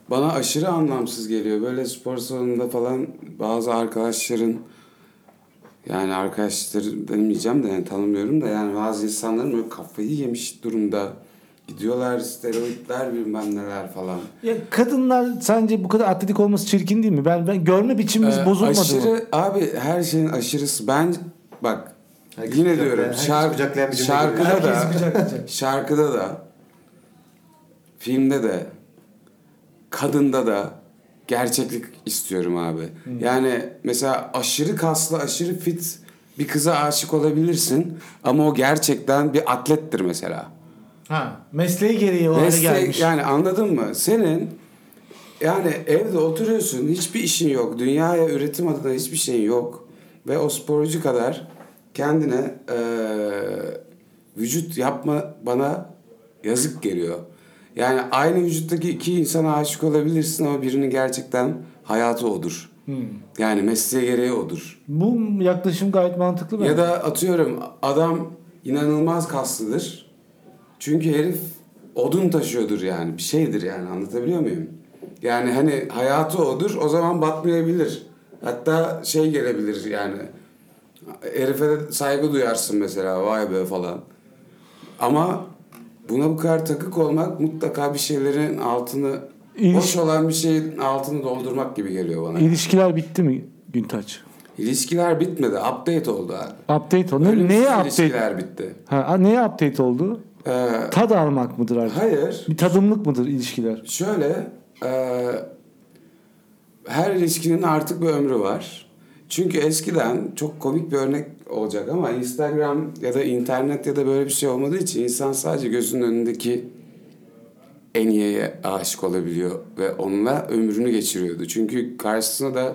[SPEAKER 4] bana aşırı anlamsız geliyor. Böyle spor salonunda falan bazı arkadaşların yani arkadaşlar demeyeceğim de yani tanımıyorum da yani bazı insanların böyle kafayı yemiş durumda gidiyorlar steroidler bilmem neler falan.
[SPEAKER 3] Ya kadınlar sence bu kadar atletik olması çirkin değil mi? Ben, ben görme biçimimiz
[SPEAKER 4] Ee,
[SPEAKER 3] bozulmadı
[SPEAKER 4] aşırı,
[SPEAKER 3] mı?
[SPEAKER 4] Abi her şeyin aşırısı. Ben bak
[SPEAKER 1] Herkes
[SPEAKER 4] yine
[SPEAKER 1] kucaklayan-
[SPEAKER 4] diyorum
[SPEAKER 1] herkes kucaklayan
[SPEAKER 4] şark,
[SPEAKER 1] bir cümle
[SPEAKER 4] şarkıda
[SPEAKER 3] Herkes
[SPEAKER 4] da
[SPEAKER 3] kucaklayacak.
[SPEAKER 4] şarkıda da filmde de kadında da gerçeklik istiyorum abi.
[SPEAKER 3] Hmm.
[SPEAKER 4] Yani mesela aşırı kaslı, aşırı fit bir kıza aşık olabilirsin ama o gerçekten bir atlettir mesela.
[SPEAKER 3] Ha, mesleği gereği o hale
[SPEAKER 4] Meslek-
[SPEAKER 3] gelmiş.
[SPEAKER 4] Yani anladın mı? Senin yani evde oturuyorsun, hiçbir işin yok. Dünyaya üretim adına hiçbir şeyin yok. Ve o sporcu kadar kendine eee, vücut yapma bana yazık geliyor. Yani aynı vücuttaki iki insana aşık olabilirsin ama birinin gerçekten hayatı odur.
[SPEAKER 3] Hmm.
[SPEAKER 4] Yani mesleği gereği odur.
[SPEAKER 3] Bu yaklaşım gayet mantıklı bence.
[SPEAKER 4] Ya da atıyorum adam inanılmaz kaslıdır. Çünkü herif odun taşıyordur yani. Bir şeydir yani anlatabiliyor muyum? Yani hani hayatı odur o zaman batmayabilir. Hatta şey gelebilir yani. Herife de saygı duyarsın mesela vay be falan. Ama buna bu kadar takık olmak mutlaka bir şeylerin altını
[SPEAKER 3] İliş-
[SPEAKER 4] boş olan bir şeyin altını doldurmak gibi geliyor bana.
[SPEAKER 3] İlişkiler bitti mi Güntaç?
[SPEAKER 4] İlişkiler bitmedi. Update oldu abi.
[SPEAKER 3] Update oldu. Ne-
[SPEAKER 4] Ölümsüz
[SPEAKER 3] Neye update?
[SPEAKER 4] ilişkiler bitti.
[SPEAKER 3] Ha, a- neye update oldu?
[SPEAKER 4] Ee,
[SPEAKER 3] Tad almak mıdır artık?
[SPEAKER 4] hayır.
[SPEAKER 3] Bir tadımlık mıdır ilişkiler?
[SPEAKER 4] Şöyle e, her ilişkinin artık bir ömrü var. Çünkü eskiden çok komik bir örnek olacak ama Instagram ya da internet ya da böyle bir şey olmadığı için insan sadece gözünün önündeki en iyiye aşık olabiliyor ve onunla ömrünü geçiriyordu. Çünkü karşısına da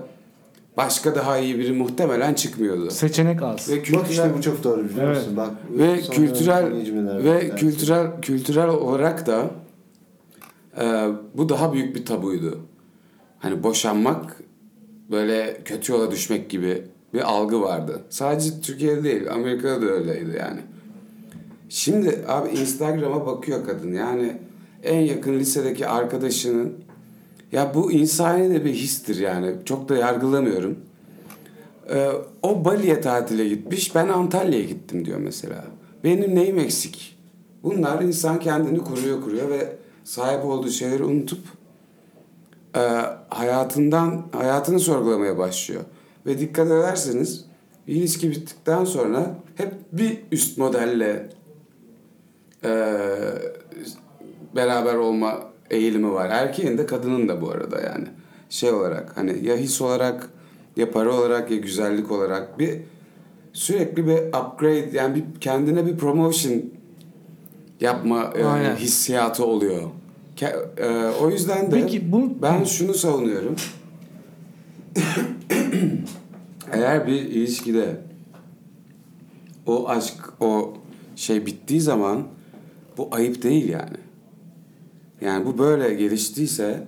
[SPEAKER 4] başka daha iyi biri muhtemelen çıkmıyordu.
[SPEAKER 3] Seçenek az.
[SPEAKER 4] Ve
[SPEAKER 1] Bak işte bu çok doğru biliyor
[SPEAKER 3] Evet.
[SPEAKER 1] musun? Bak
[SPEAKER 4] ve
[SPEAKER 1] sonra
[SPEAKER 4] kültürel
[SPEAKER 1] iyi cümleler var.
[SPEAKER 4] ve
[SPEAKER 1] Evet.
[SPEAKER 4] kültürel kültürel olarak da e, bu daha büyük bir tabuydu. Hani boşanmak böyle kötü yola düşmek gibi bir algı vardı. Sadece Türkiye'de değil, Amerika'da da öyleydi yani. Şimdi abi Instagram'a bakıyor kadın. Yani en yakın lisedeki arkadaşının ya bu insani de bir histir yani. Çok da yargılamıyorum. Ee, o Bali'ye tatile gitmiş. Ben Antalya'ya gittim diyor mesela. Benim neyim eksik? Bunlar insan kendini kuruyor kuruyor ve sahip olduğu şeyleri unutup e, hayatından hayatını sorgulamaya başlıyor. Ve dikkat ederseniz bir ilişki bittikten sonra hep bir üst modelle e, beraber olma eğilimi var. Erkeğin de kadının da bu arada yani. Şey olarak hani ya his olarak ya para olarak ya güzellik olarak bir sürekli bir upgrade yani bir kendine bir promotion yapma e,
[SPEAKER 3] Aynen.
[SPEAKER 4] hissiyatı oluyor. Ke- e, o yüzden de
[SPEAKER 3] Peki bu-
[SPEAKER 4] ben şunu savunuyorum. Eğer bir ilişkide o aşk o şey bittiği zaman bu ayıp değil yani. Yani bu böyle geliştiyse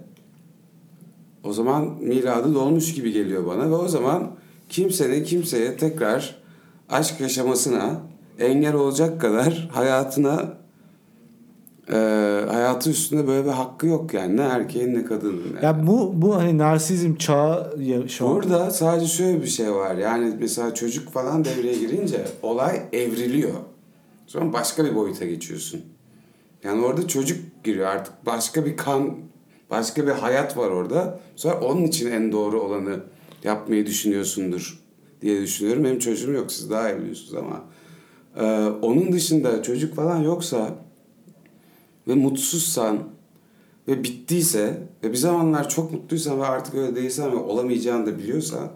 [SPEAKER 4] o zaman miradı dolmuş gibi geliyor bana ve o zaman kimsenin kimseye tekrar aşk yaşamasına engel olacak kadar hayatına e, hayatı üstünde böyle bir hakkı yok yani ne erkeğin ne kadının. yani.
[SPEAKER 3] Ya bu bu hani narsizm çağı ya şu an.
[SPEAKER 4] Burada sadece şöyle bir şey var. Yani mesela çocuk falan devreye girince olay evriliyor. Sonra başka bir boyuta geçiyorsun. Yani orada çocuk giriyor artık. Başka bir kan, başka bir hayat var orada. Sonra onun için en doğru olanı yapmayı düşünüyorsundur diye düşünüyorum. Benim çocuğum yok siz daha iyi biliyorsunuz ama. Ee, onun dışında çocuk falan yoksa ve mutsuzsan ve bittiyse ve bir zamanlar çok mutluysan ve artık öyle değilsen ve olamayacağını da biliyorsan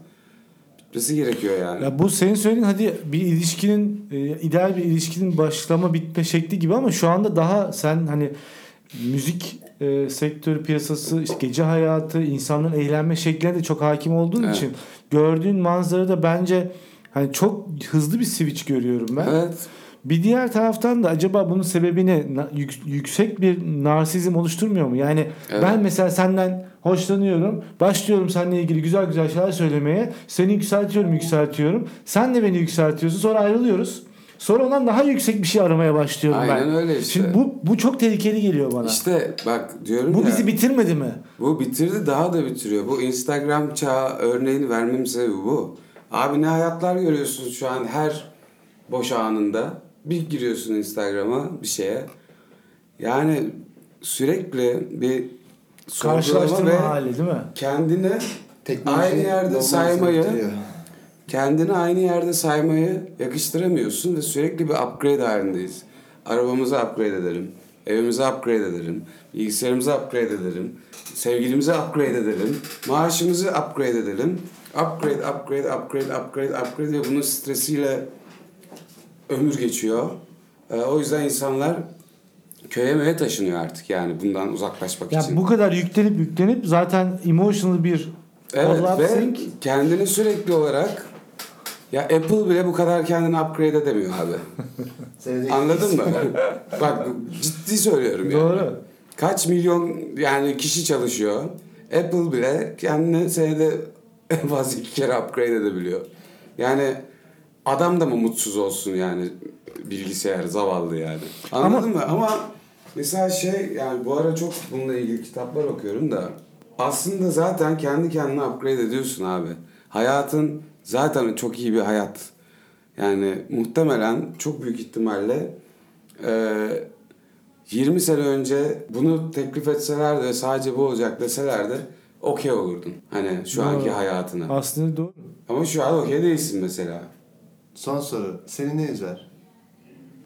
[SPEAKER 4] gitmesi gerekiyor yani.
[SPEAKER 3] Ya bu senin söylediğin hadi bir ilişkinin e, ideal bir ilişkinin başlama bitme şekli gibi ama şu anda daha sen hani müzik e, sektörü piyasası işte gece hayatı insanların eğlenme şekline de çok hakim olduğun
[SPEAKER 4] Evet.
[SPEAKER 3] için gördüğün manzara da bence hani çok hızlı bir switch görüyorum ben.
[SPEAKER 4] Evet.
[SPEAKER 3] Bir diğer taraftan da acaba bunun sebebi ne? Na- yük- yüksek bir narsizm oluşturmuyor mu? Yani
[SPEAKER 4] Evet.
[SPEAKER 3] ben mesela senden hoşlanıyorum. Başlıyorum seninle ilgili güzel güzel şeyler söylemeye. Seni yükseltiyorum, yükseltiyorum. Sen de beni yükseltiyorsun. Sonra ayrılıyoruz. Sonra ondan daha yüksek bir şey aramaya başlıyorum ben.
[SPEAKER 4] Aynen öyle işte.
[SPEAKER 3] Şimdi bu bu çok tehlikeli geliyor bana.
[SPEAKER 4] İşte bak diyorum
[SPEAKER 3] bu
[SPEAKER 4] ya.
[SPEAKER 3] bizi bitirmedi mi?
[SPEAKER 4] Bu bitirdi daha da bitiriyor. Bu Instagram çağı örneğini vermemin sebebi bu. Abi ne hayatlar görüyorsun şu an her boş anında. Bir giriyorsun Instagram'a bir şeye. Yani sürekli bir sorgulama
[SPEAKER 3] Karşılaştırma
[SPEAKER 4] ve
[SPEAKER 3] hali değil mi?
[SPEAKER 4] kendini
[SPEAKER 1] Teknoloji şey
[SPEAKER 4] aynı yerde
[SPEAKER 1] normalize
[SPEAKER 4] saymayı
[SPEAKER 1] ettiriyor.
[SPEAKER 4] kendini aynı yerde saymayı yakıştıramıyorsun ve sürekli bir upgrade halindeyiz. Arabamızı upgrade edelim, evimizi upgrade edelim, bilgisayarımızı upgrade edelim, sevgilimizi upgrade edelim, maaşımızı upgrade edelim. Upgrade, upgrade, upgrade, upgrade, upgrade ve bunun stresiyle ömür geçiyor. Ee, o yüzden insanlar köye meve taşınıyor artık yani bundan uzaklaşmak
[SPEAKER 3] Ya
[SPEAKER 4] için.
[SPEAKER 3] bu kadar yüklenip yüklenip zaten emotional bir
[SPEAKER 4] Evet ve
[SPEAKER 3] collapsing
[SPEAKER 4] kendini sürekli olarak ya Apple bile bu kadar kendini upgrade edemiyor abi.
[SPEAKER 1] Senede
[SPEAKER 4] Anladın mı? Bak ciddi söylüyorum yani.
[SPEAKER 3] Doğru.
[SPEAKER 4] Kaç milyon yani kişi çalışıyor. Apple bile kendini senede en fazla iki kere upgrade edebiliyor. Yani adam da mı mutsuz olsun yani bilgisayar zavallı yani. Anladın mı? Ama mesela şey yani bu ara çok bununla ilgili kitaplar okuyorum da aslında zaten kendi kendine upgrade ediyorsun abi. Hayatın zaten çok iyi bir hayat. Yani muhtemelen çok büyük ihtimalle eee 20 Ee, sene önce bunu teklif etselerdi ve sadece bu olacak deselerdi okey olurdun. Hani şu anki
[SPEAKER 3] Doğru.
[SPEAKER 4] hayatına.
[SPEAKER 3] aslında doğru.
[SPEAKER 4] Ama şu an okey değilsin mesela.
[SPEAKER 1] Son soru. Seni ne üzer?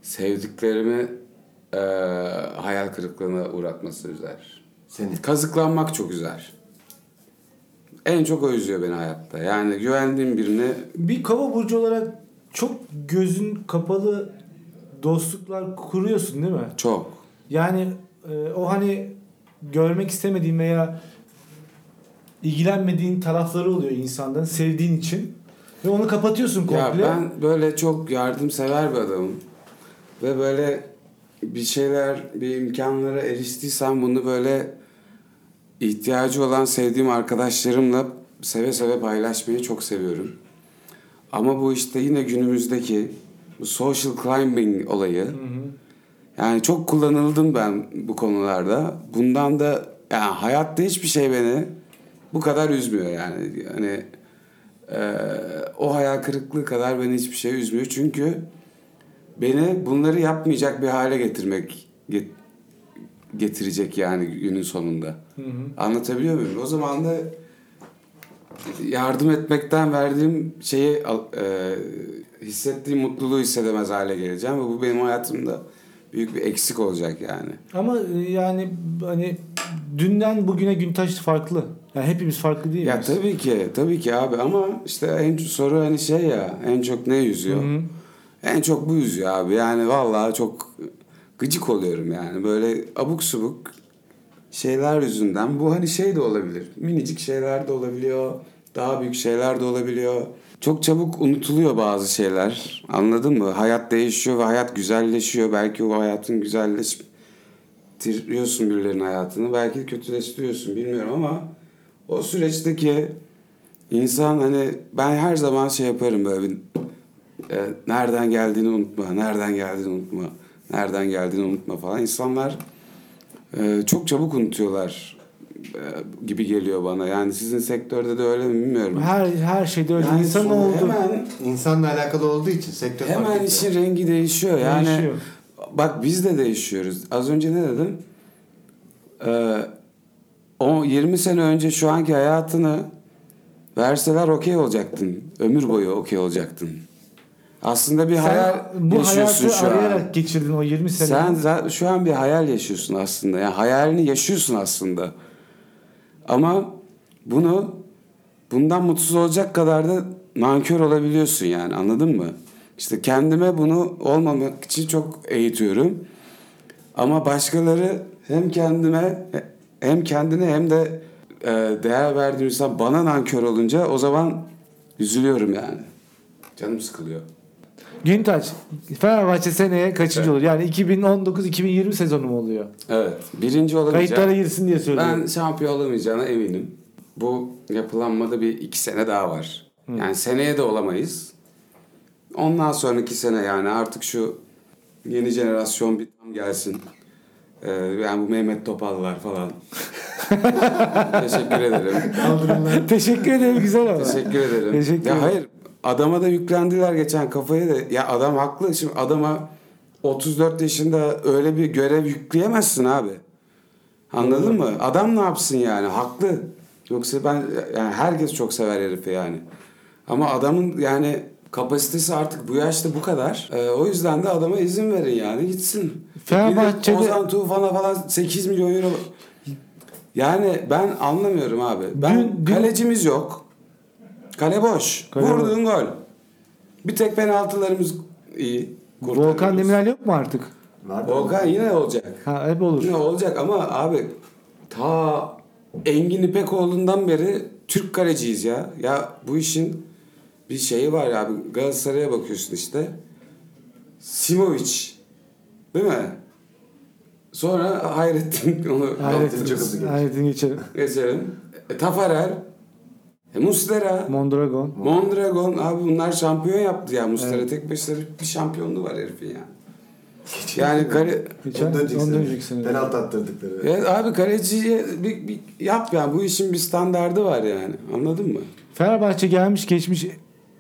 [SPEAKER 4] Sevdiklerimi eee, hayal kırıklığına uğratması üzer.
[SPEAKER 1] Seni.
[SPEAKER 4] Kazıklanmak çok üzer. En çok o üzüyor beni hayatta. Yani güvendiğim birine
[SPEAKER 3] Bir kova burcu olarak çok gözün kapalı dostluklar kuruyorsun değil mi?
[SPEAKER 4] çok.
[SPEAKER 3] Yani e, o hani görmek istemediğin veya ilgilenmediğin tarafları oluyor insandan sevdiğin için ve onu kapatıyorsun
[SPEAKER 4] Ya
[SPEAKER 3] komple.
[SPEAKER 4] ben böyle çok yardımsever bir adamım. Ve böyle bir şeyler, bir imkanlara eriştiysem bunu böyle ihtiyacı olan sevdiğim arkadaşlarımla seve seve paylaşmayı çok seviyorum. Ama bu işte yine günümüzdeki bu social climbing olayı. Yani çok kullanıldım ben bu konularda. Bundan da yani hayatta hiçbir şey beni bu kadar üzmüyor yani. Hani eee, Ee, o hayal kırıklığı kadar beni hiçbir şey üzmüyor. Çünkü beni bunları yapmayacak bir hale getirmek get- getirecek yani günün sonunda. Anlatabiliyor muyum? O zaman da yardım etmekten verdiğim şeyi al- e, hissettiğim mutluluğu hissedemez hale geleceğim ve bu benim hayatımda büyük bir eksik olacak yani.
[SPEAKER 3] Ama e, yani hani dünden bugüne gün taştı farklı. Yani hepimiz farklı değil
[SPEAKER 4] Ya
[SPEAKER 3] miyiz?
[SPEAKER 4] tabii ki, tabii ki abi ama işte en çok soru hani şey ya, en çok ne yüzüyor?
[SPEAKER 3] Hı hı.
[SPEAKER 4] En çok bu yüzüyor abi. Yani vallahi çok gıcık oluyorum yani. Böyle abuk subuk şeyler yüzünden. Bu hani şey de olabilir. Minicik şeyler de olabiliyor. Daha büyük şeyler de olabiliyor. Çok çabuk unutuluyor bazı şeyler. Anladın mı? Hayat değişiyor ve hayat güzelleşiyor. Belki o hayatın güzelleştiriyorsun birilerinin hayatını. Belki de kötüleştiriyorsun bilmiyorum ama o süreçteki insan hani ben her zaman şey yaparım böyle bir e, nereden geldiğini unutma, nereden geldiğini unutma, nereden geldiğini unutma falan. İnsanlar e, çok çabuk unutuyorlar e, gibi geliyor bana. Yani sizin sektörde de öyle mi bilmiyorum.
[SPEAKER 3] Her her şeyde öyle
[SPEAKER 4] Yani
[SPEAKER 3] insan
[SPEAKER 4] sonra
[SPEAKER 3] oldu.
[SPEAKER 4] Hemen,
[SPEAKER 1] İnsanla alakalı olduğu için sektör fark
[SPEAKER 4] hemen
[SPEAKER 1] ediyor.
[SPEAKER 4] işin rengi değişiyor. Yani
[SPEAKER 3] Değişiyor.
[SPEAKER 4] bak biz de değişiyoruz. Az önce ne dedim? Ee, o 20 sene önce şu anki hayatını verseler okey olacaktın. Ömür boyu okey olacaktın. Aslında bir
[SPEAKER 3] Sen
[SPEAKER 4] hayal
[SPEAKER 3] bu
[SPEAKER 4] yaşıyorsun
[SPEAKER 3] hayatı
[SPEAKER 4] şu an.
[SPEAKER 3] arayarak geçirdin o 20 sene.
[SPEAKER 4] Sen za- şu an bir hayal yaşıyorsun aslında. Yani hayalini yaşıyorsun aslında. Ama bunu bundan mutsuz olacak kadar da nankör olabiliyorsun yani anladın mı? İşte kendime bunu olmamak için çok eğitiyorum. Ama başkaları hem kendime hem kendine hem de e, değer verdiğim insan bana nankör olunca o zaman üzülüyorum yani. Canım sıkılıyor.
[SPEAKER 3] Güntaç, Fenerbahçe seneye kaçıncı olur? Yani 2019-2020 sezonu mu oluyor?
[SPEAKER 4] Evet. Birinci olamayacağım.
[SPEAKER 3] Kayıtlara girsin diye söylüyorum.
[SPEAKER 4] Ben şampiyon olamayacağına eminim. Bu yapılanmada bir iki sene daha var. Yani seneye de olamayız. Ondan sonraki sene yani artık şu yeni jenerasyon bir tam gelsin. Ee, yani bu Mehmet Topallar falan. Teşekkür ederim.
[SPEAKER 3] Teşekkür ederim güzel ama.
[SPEAKER 4] Teşekkür ederim.
[SPEAKER 3] Teşekkür
[SPEAKER 4] ya
[SPEAKER 3] ederim.
[SPEAKER 4] hayır adama da yüklendiler geçen kafayı da. Ya adam haklı. Şimdi adama 34 yaşında öyle bir görev yükleyemezsin abi. Anladın mı? Adam ne yapsın yani? Haklı. Yoksa ben yani herkes çok sever herifi yani. Ama adamın yani kapasitesi artık bu yaşta bu kadar. Ee, o yüzden de adama izin verin yani gitsin.
[SPEAKER 3] Fenerbahçe'de-
[SPEAKER 4] Gidip Ozan Tufan'a falan 8 milyon euro yani ben anlamıyorum abi. Ben
[SPEAKER 3] Dün- dün-
[SPEAKER 4] kalecimiz yok. Kale boş.
[SPEAKER 3] Kale boş.
[SPEAKER 4] Vurduğun gol. Bir tek penaltılarımız iyi. kurtarıyoruz.
[SPEAKER 3] Volkan Demirel yok mu artık?
[SPEAKER 4] Volkan yine olacak.
[SPEAKER 3] Ha hep olur.
[SPEAKER 4] Yine olacak ama abi ta Engin İpekoğlu'ndan beri Türk kaleciyiz ya. Ya bu işin bir şeyi var ya abi. Galatasaray'a bakıyorsun işte. Simovic. Değil mi? Sonra Hayrettin onu
[SPEAKER 3] Hayretin,
[SPEAKER 2] çok hızlı geçti.
[SPEAKER 3] Hayretin geçelim.
[SPEAKER 4] geçelim. E, Tafarel. E, Mustera.
[SPEAKER 3] Mondragon.
[SPEAKER 4] Mondragon abi bunlar şampiyon yaptı ya. Mustera tek başına bir- bir şampiyonluğu var herifin ya. Yani kare,
[SPEAKER 3] Geçen,
[SPEAKER 2] Ondan önceki
[SPEAKER 3] ondan
[SPEAKER 2] sene.
[SPEAKER 3] önceki sene.
[SPEAKER 2] Penaltı attırdıkları.
[SPEAKER 4] Evet abi kaleciye bir, bir yap yani bu işin bir standardı var yani anladın mı?
[SPEAKER 3] Fenerbahçe gelmiş geçmiş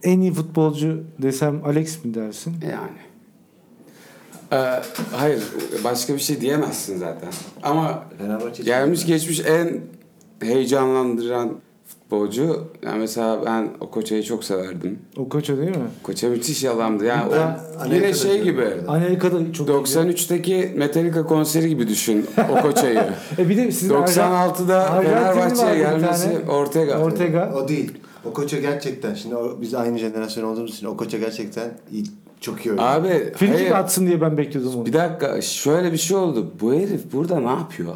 [SPEAKER 3] en iyi futbolcu desem Alex mi dersin?
[SPEAKER 4] Yani. Ee, hayır başka bir şey diyemezsin zaten. Ama
[SPEAKER 2] Fenerbahçe
[SPEAKER 4] gelmiş geçmiş en heyecanlandıran futbolcu yani mesela ben o koçayı çok severdim.
[SPEAKER 3] O koça değil mi?
[SPEAKER 4] Koça müthiş yalandı yani o
[SPEAKER 2] Ben
[SPEAKER 4] yine
[SPEAKER 2] Amerika'da
[SPEAKER 4] şey gibi
[SPEAKER 2] diyorum
[SPEAKER 3] Amerika'da çok
[SPEAKER 4] 93'teki Metallica konseri gibi düşün o koçayı.
[SPEAKER 3] iyi. E bir de sizin
[SPEAKER 4] 96'da
[SPEAKER 3] Arjantinli vardı
[SPEAKER 4] Fenerbahçe'ye
[SPEAKER 3] bir
[SPEAKER 4] gelmesi
[SPEAKER 3] tane.
[SPEAKER 4] Ortega.
[SPEAKER 3] Ortega.
[SPEAKER 2] O değil. O koça gerçekten şimdi o- biz aynı jenerasyon olduğumuz için o koça gerçekten iyi, çok iyi oynuyor.
[SPEAKER 4] Abi hayır.
[SPEAKER 3] Frikik atsın diye ben bekliyordum onu.
[SPEAKER 4] Bir dakika şöyle bir şey oldu. Bu herif burada ne yapıyor?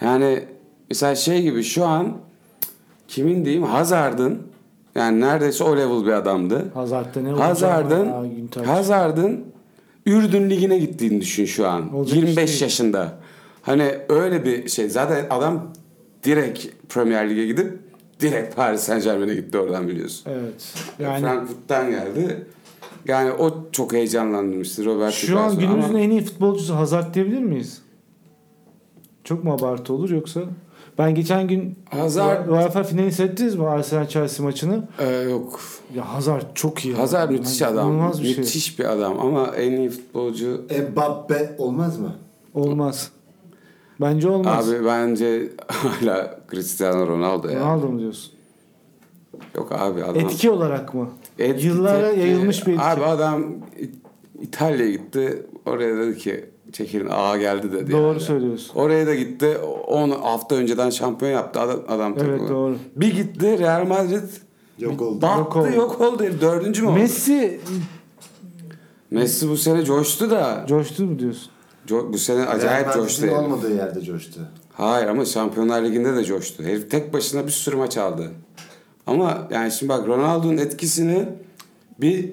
[SPEAKER 4] Yani mesela şey gibi şu an kimin diyeyim Hazard'ın yani neredeyse o level bir adamdı.
[SPEAKER 3] Hazard'da ne olacak ama ya,
[SPEAKER 4] Hazard'ın
[SPEAKER 3] Günter?
[SPEAKER 4] Hazard'ın Ürdün Ligi'ne gittiğini düşün şu an.
[SPEAKER 3] Olacak
[SPEAKER 4] 25
[SPEAKER 3] iş değil.
[SPEAKER 4] yaşında. Hani öyle bir şey. Zaten adam direkt Premier Lig'e gidip direkt Paris Saint Germain'e gitti oradan biliyorsun.
[SPEAKER 3] Evet. Yani
[SPEAKER 4] E, Frankfurt'tan geldi. Yani o çok heyecanlandırmıştı Robert
[SPEAKER 3] şu an
[SPEAKER 4] Pattinson'u ama-
[SPEAKER 3] günümüzün en iyi futbolcusu Hazard diyebilir miyiz? Çok mu abartı olur yoksa? Ben geçen gün
[SPEAKER 4] Hazard-
[SPEAKER 3] UEFA finali seyrettiniz mi Arsenal Chelsea maçını?
[SPEAKER 4] Ee, yok.
[SPEAKER 3] Ya Hazard çok iyi. ya.
[SPEAKER 4] Hazar müthiş
[SPEAKER 3] Yani
[SPEAKER 4] adam.
[SPEAKER 3] Olmaz bir şey.
[SPEAKER 4] müthiş bir adam ama en iyi futbolcu
[SPEAKER 2] Mbappe olmaz mı?
[SPEAKER 3] Olmaz. Bence olmaz.
[SPEAKER 4] abi e- bence hala Cristiano Ronaldo ya.
[SPEAKER 3] Ronaldo mu diyorsun?
[SPEAKER 4] Yok abi adam.
[SPEAKER 3] Etki olarak mı?
[SPEAKER 4] Etki,
[SPEAKER 3] Yıllara
[SPEAKER 4] tepki.
[SPEAKER 3] yayılmış bir etki.
[SPEAKER 4] Abi adam İ- İtalya'ya gitti. Oraya dedi ki çekilin ağa geldi dedi.
[SPEAKER 3] Doğru
[SPEAKER 4] yani.
[SPEAKER 3] söylüyorsun.
[SPEAKER 4] Oraya da gitti. 10 hafta önceden şampiyon yaptı adam, adam
[SPEAKER 3] Evet,
[SPEAKER 4] takımı.
[SPEAKER 3] doğru.
[SPEAKER 4] Bir gitti Real Madrid
[SPEAKER 2] Yok oldu.
[SPEAKER 4] battı
[SPEAKER 3] Yok
[SPEAKER 4] yok
[SPEAKER 3] oldu.
[SPEAKER 4] oldu. Herif Dördüncü mü oldu? Messi,
[SPEAKER 3] Messi
[SPEAKER 4] bu sene coştu da.
[SPEAKER 3] coştu mu diyorsun?
[SPEAKER 4] Co- bu sene acayip
[SPEAKER 2] Real
[SPEAKER 4] coştu.
[SPEAKER 2] Madrid'in
[SPEAKER 4] herif.
[SPEAKER 2] olmadığı yerde coştu.
[SPEAKER 4] Hayır ama Şampiyonlar Ligi'nde de coştu. Herif tek başına bir sürü maç aldı. Ama yani şimdi bak Ronaldo'nun etkisini bir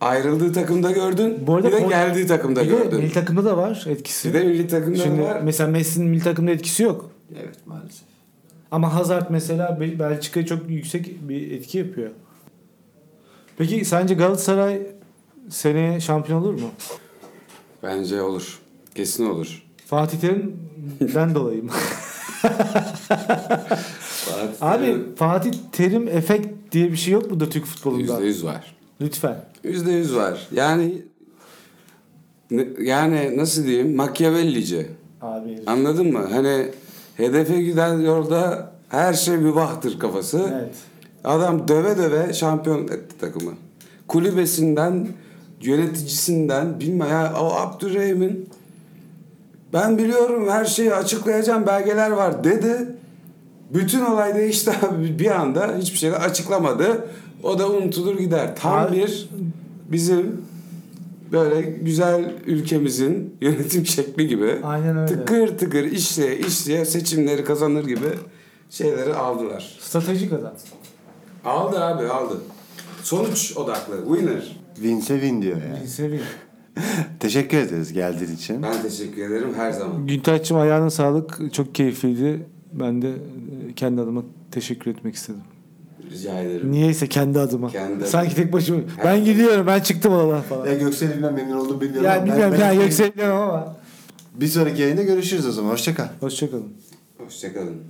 [SPEAKER 4] ayrıldığı takımda gördün.
[SPEAKER 3] Bu arada
[SPEAKER 4] bir de
[SPEAKER 3] Port-
[SPEAKER 4] geldiği takımda
[SPEAKER 3] Bir de
[SPEAKER 4] gördün.
[SPEAKER 3] milli takımda da var etkisi.
[SPEAKER 4] bir de milli takımda
[SPEAKER 3] Şimdi
[SPEAKER 4] var.
[SPEAKER 3] mesela Messi'nin milli takımda etkisi yok.
[SPEAKER 2] Evet maalesef.
[SPEAKER 3] Ama Hazard mesela Bel- Belçika'ya çok yüksek bir etki yapıyor. Peki sence Galatasaray seneye şampiyon olur mu?
[SPEAKER 4] Bence olur. Kesin olur.
[SPEAKER 3] Fatih Terim'den dolayı mı? Abi Fatih Terim efekt diye bir şey yok mudur Türk futbolunda?
[SPEAKER 4] %100 var.
[SPEAKER 3] Lütfen.
[SPEAKER 4] Yüzde yüz var. Yani ne- yani nasıl diyeyim Machiavellice.
[SPEAKER 3] Abi.
[SPEAKER 4] Anladın mı? Hani hedefe giden yolda her şey mübahtır kafası.
[SPEAKER 3] Evet.
[SPEAKER 4] Adam döve döve şampiyon etti takımı. Kulübesinden, yöneticisinden bilmem ya o Abdurrahim'in ben biliyorum her şeyi açıklayacağım belgeler var dedi. Bütün olay değişti abi bir anda hiçbir şeyi şey açıklamadı. O da unutulur gider. Tam
[SPEAKER 3] Abi-
[SPEAKER 4] bir bizim böyle güzel ülkemizin yönetim şekli gibi
[SPEAKER 3] Aynen öyle.
[SPEAKER 4] tıkır tıkır işleye işleye seçimleri kazanır gibi şeyleri aldılar.
[SPEAKER 3] Stratejik adam.
[SPEAKER 4] Aldı abi aldı. Sonuç odaklı. Winner.
[SPEAKER 1] Vince win diyor yani.
[SPEAKER 3] Sevin.
[SPEAKER 1] Teşekkür ederiz geldiğin için.
[SPEAKER 4] Ben teşekkür ederim her zaman.
[SPEAKER 3] Güntaç'cığım ayağına sağlık. Çok keyifliydi. Ben de e, kendi adıma teşekkür etmek istedim.
[SPEAKER 4] Rica ederim.
[SPEAKER 3] Niyeyse kendi adıma.
[SPEAKER 4] Kendi-
[SPEAKER 3] Sanki tek başıma. Ben gidiyorum ben çıktım odadan falan.
[SPEAKER 2] Ya Göksel'imden memnun oldum bilmiyorum.
[SPEAKER 3] Ya
[SPEAKER 2] ama
[SPEAKER 3] bilmiyorum
[SPEAKER 2] ben-
[SPEAKER 3] ya
[SPEAKER 2] ben-
[SPEAKER 3] yükseliyorum ama.
[SPEAKER 2] Bir sonraki yayında görüşürüz o zaman. Hoşçakal.
[SPEAKER 3] Hoşçakalın.
[SPEAKER 4] Hoşçakalın.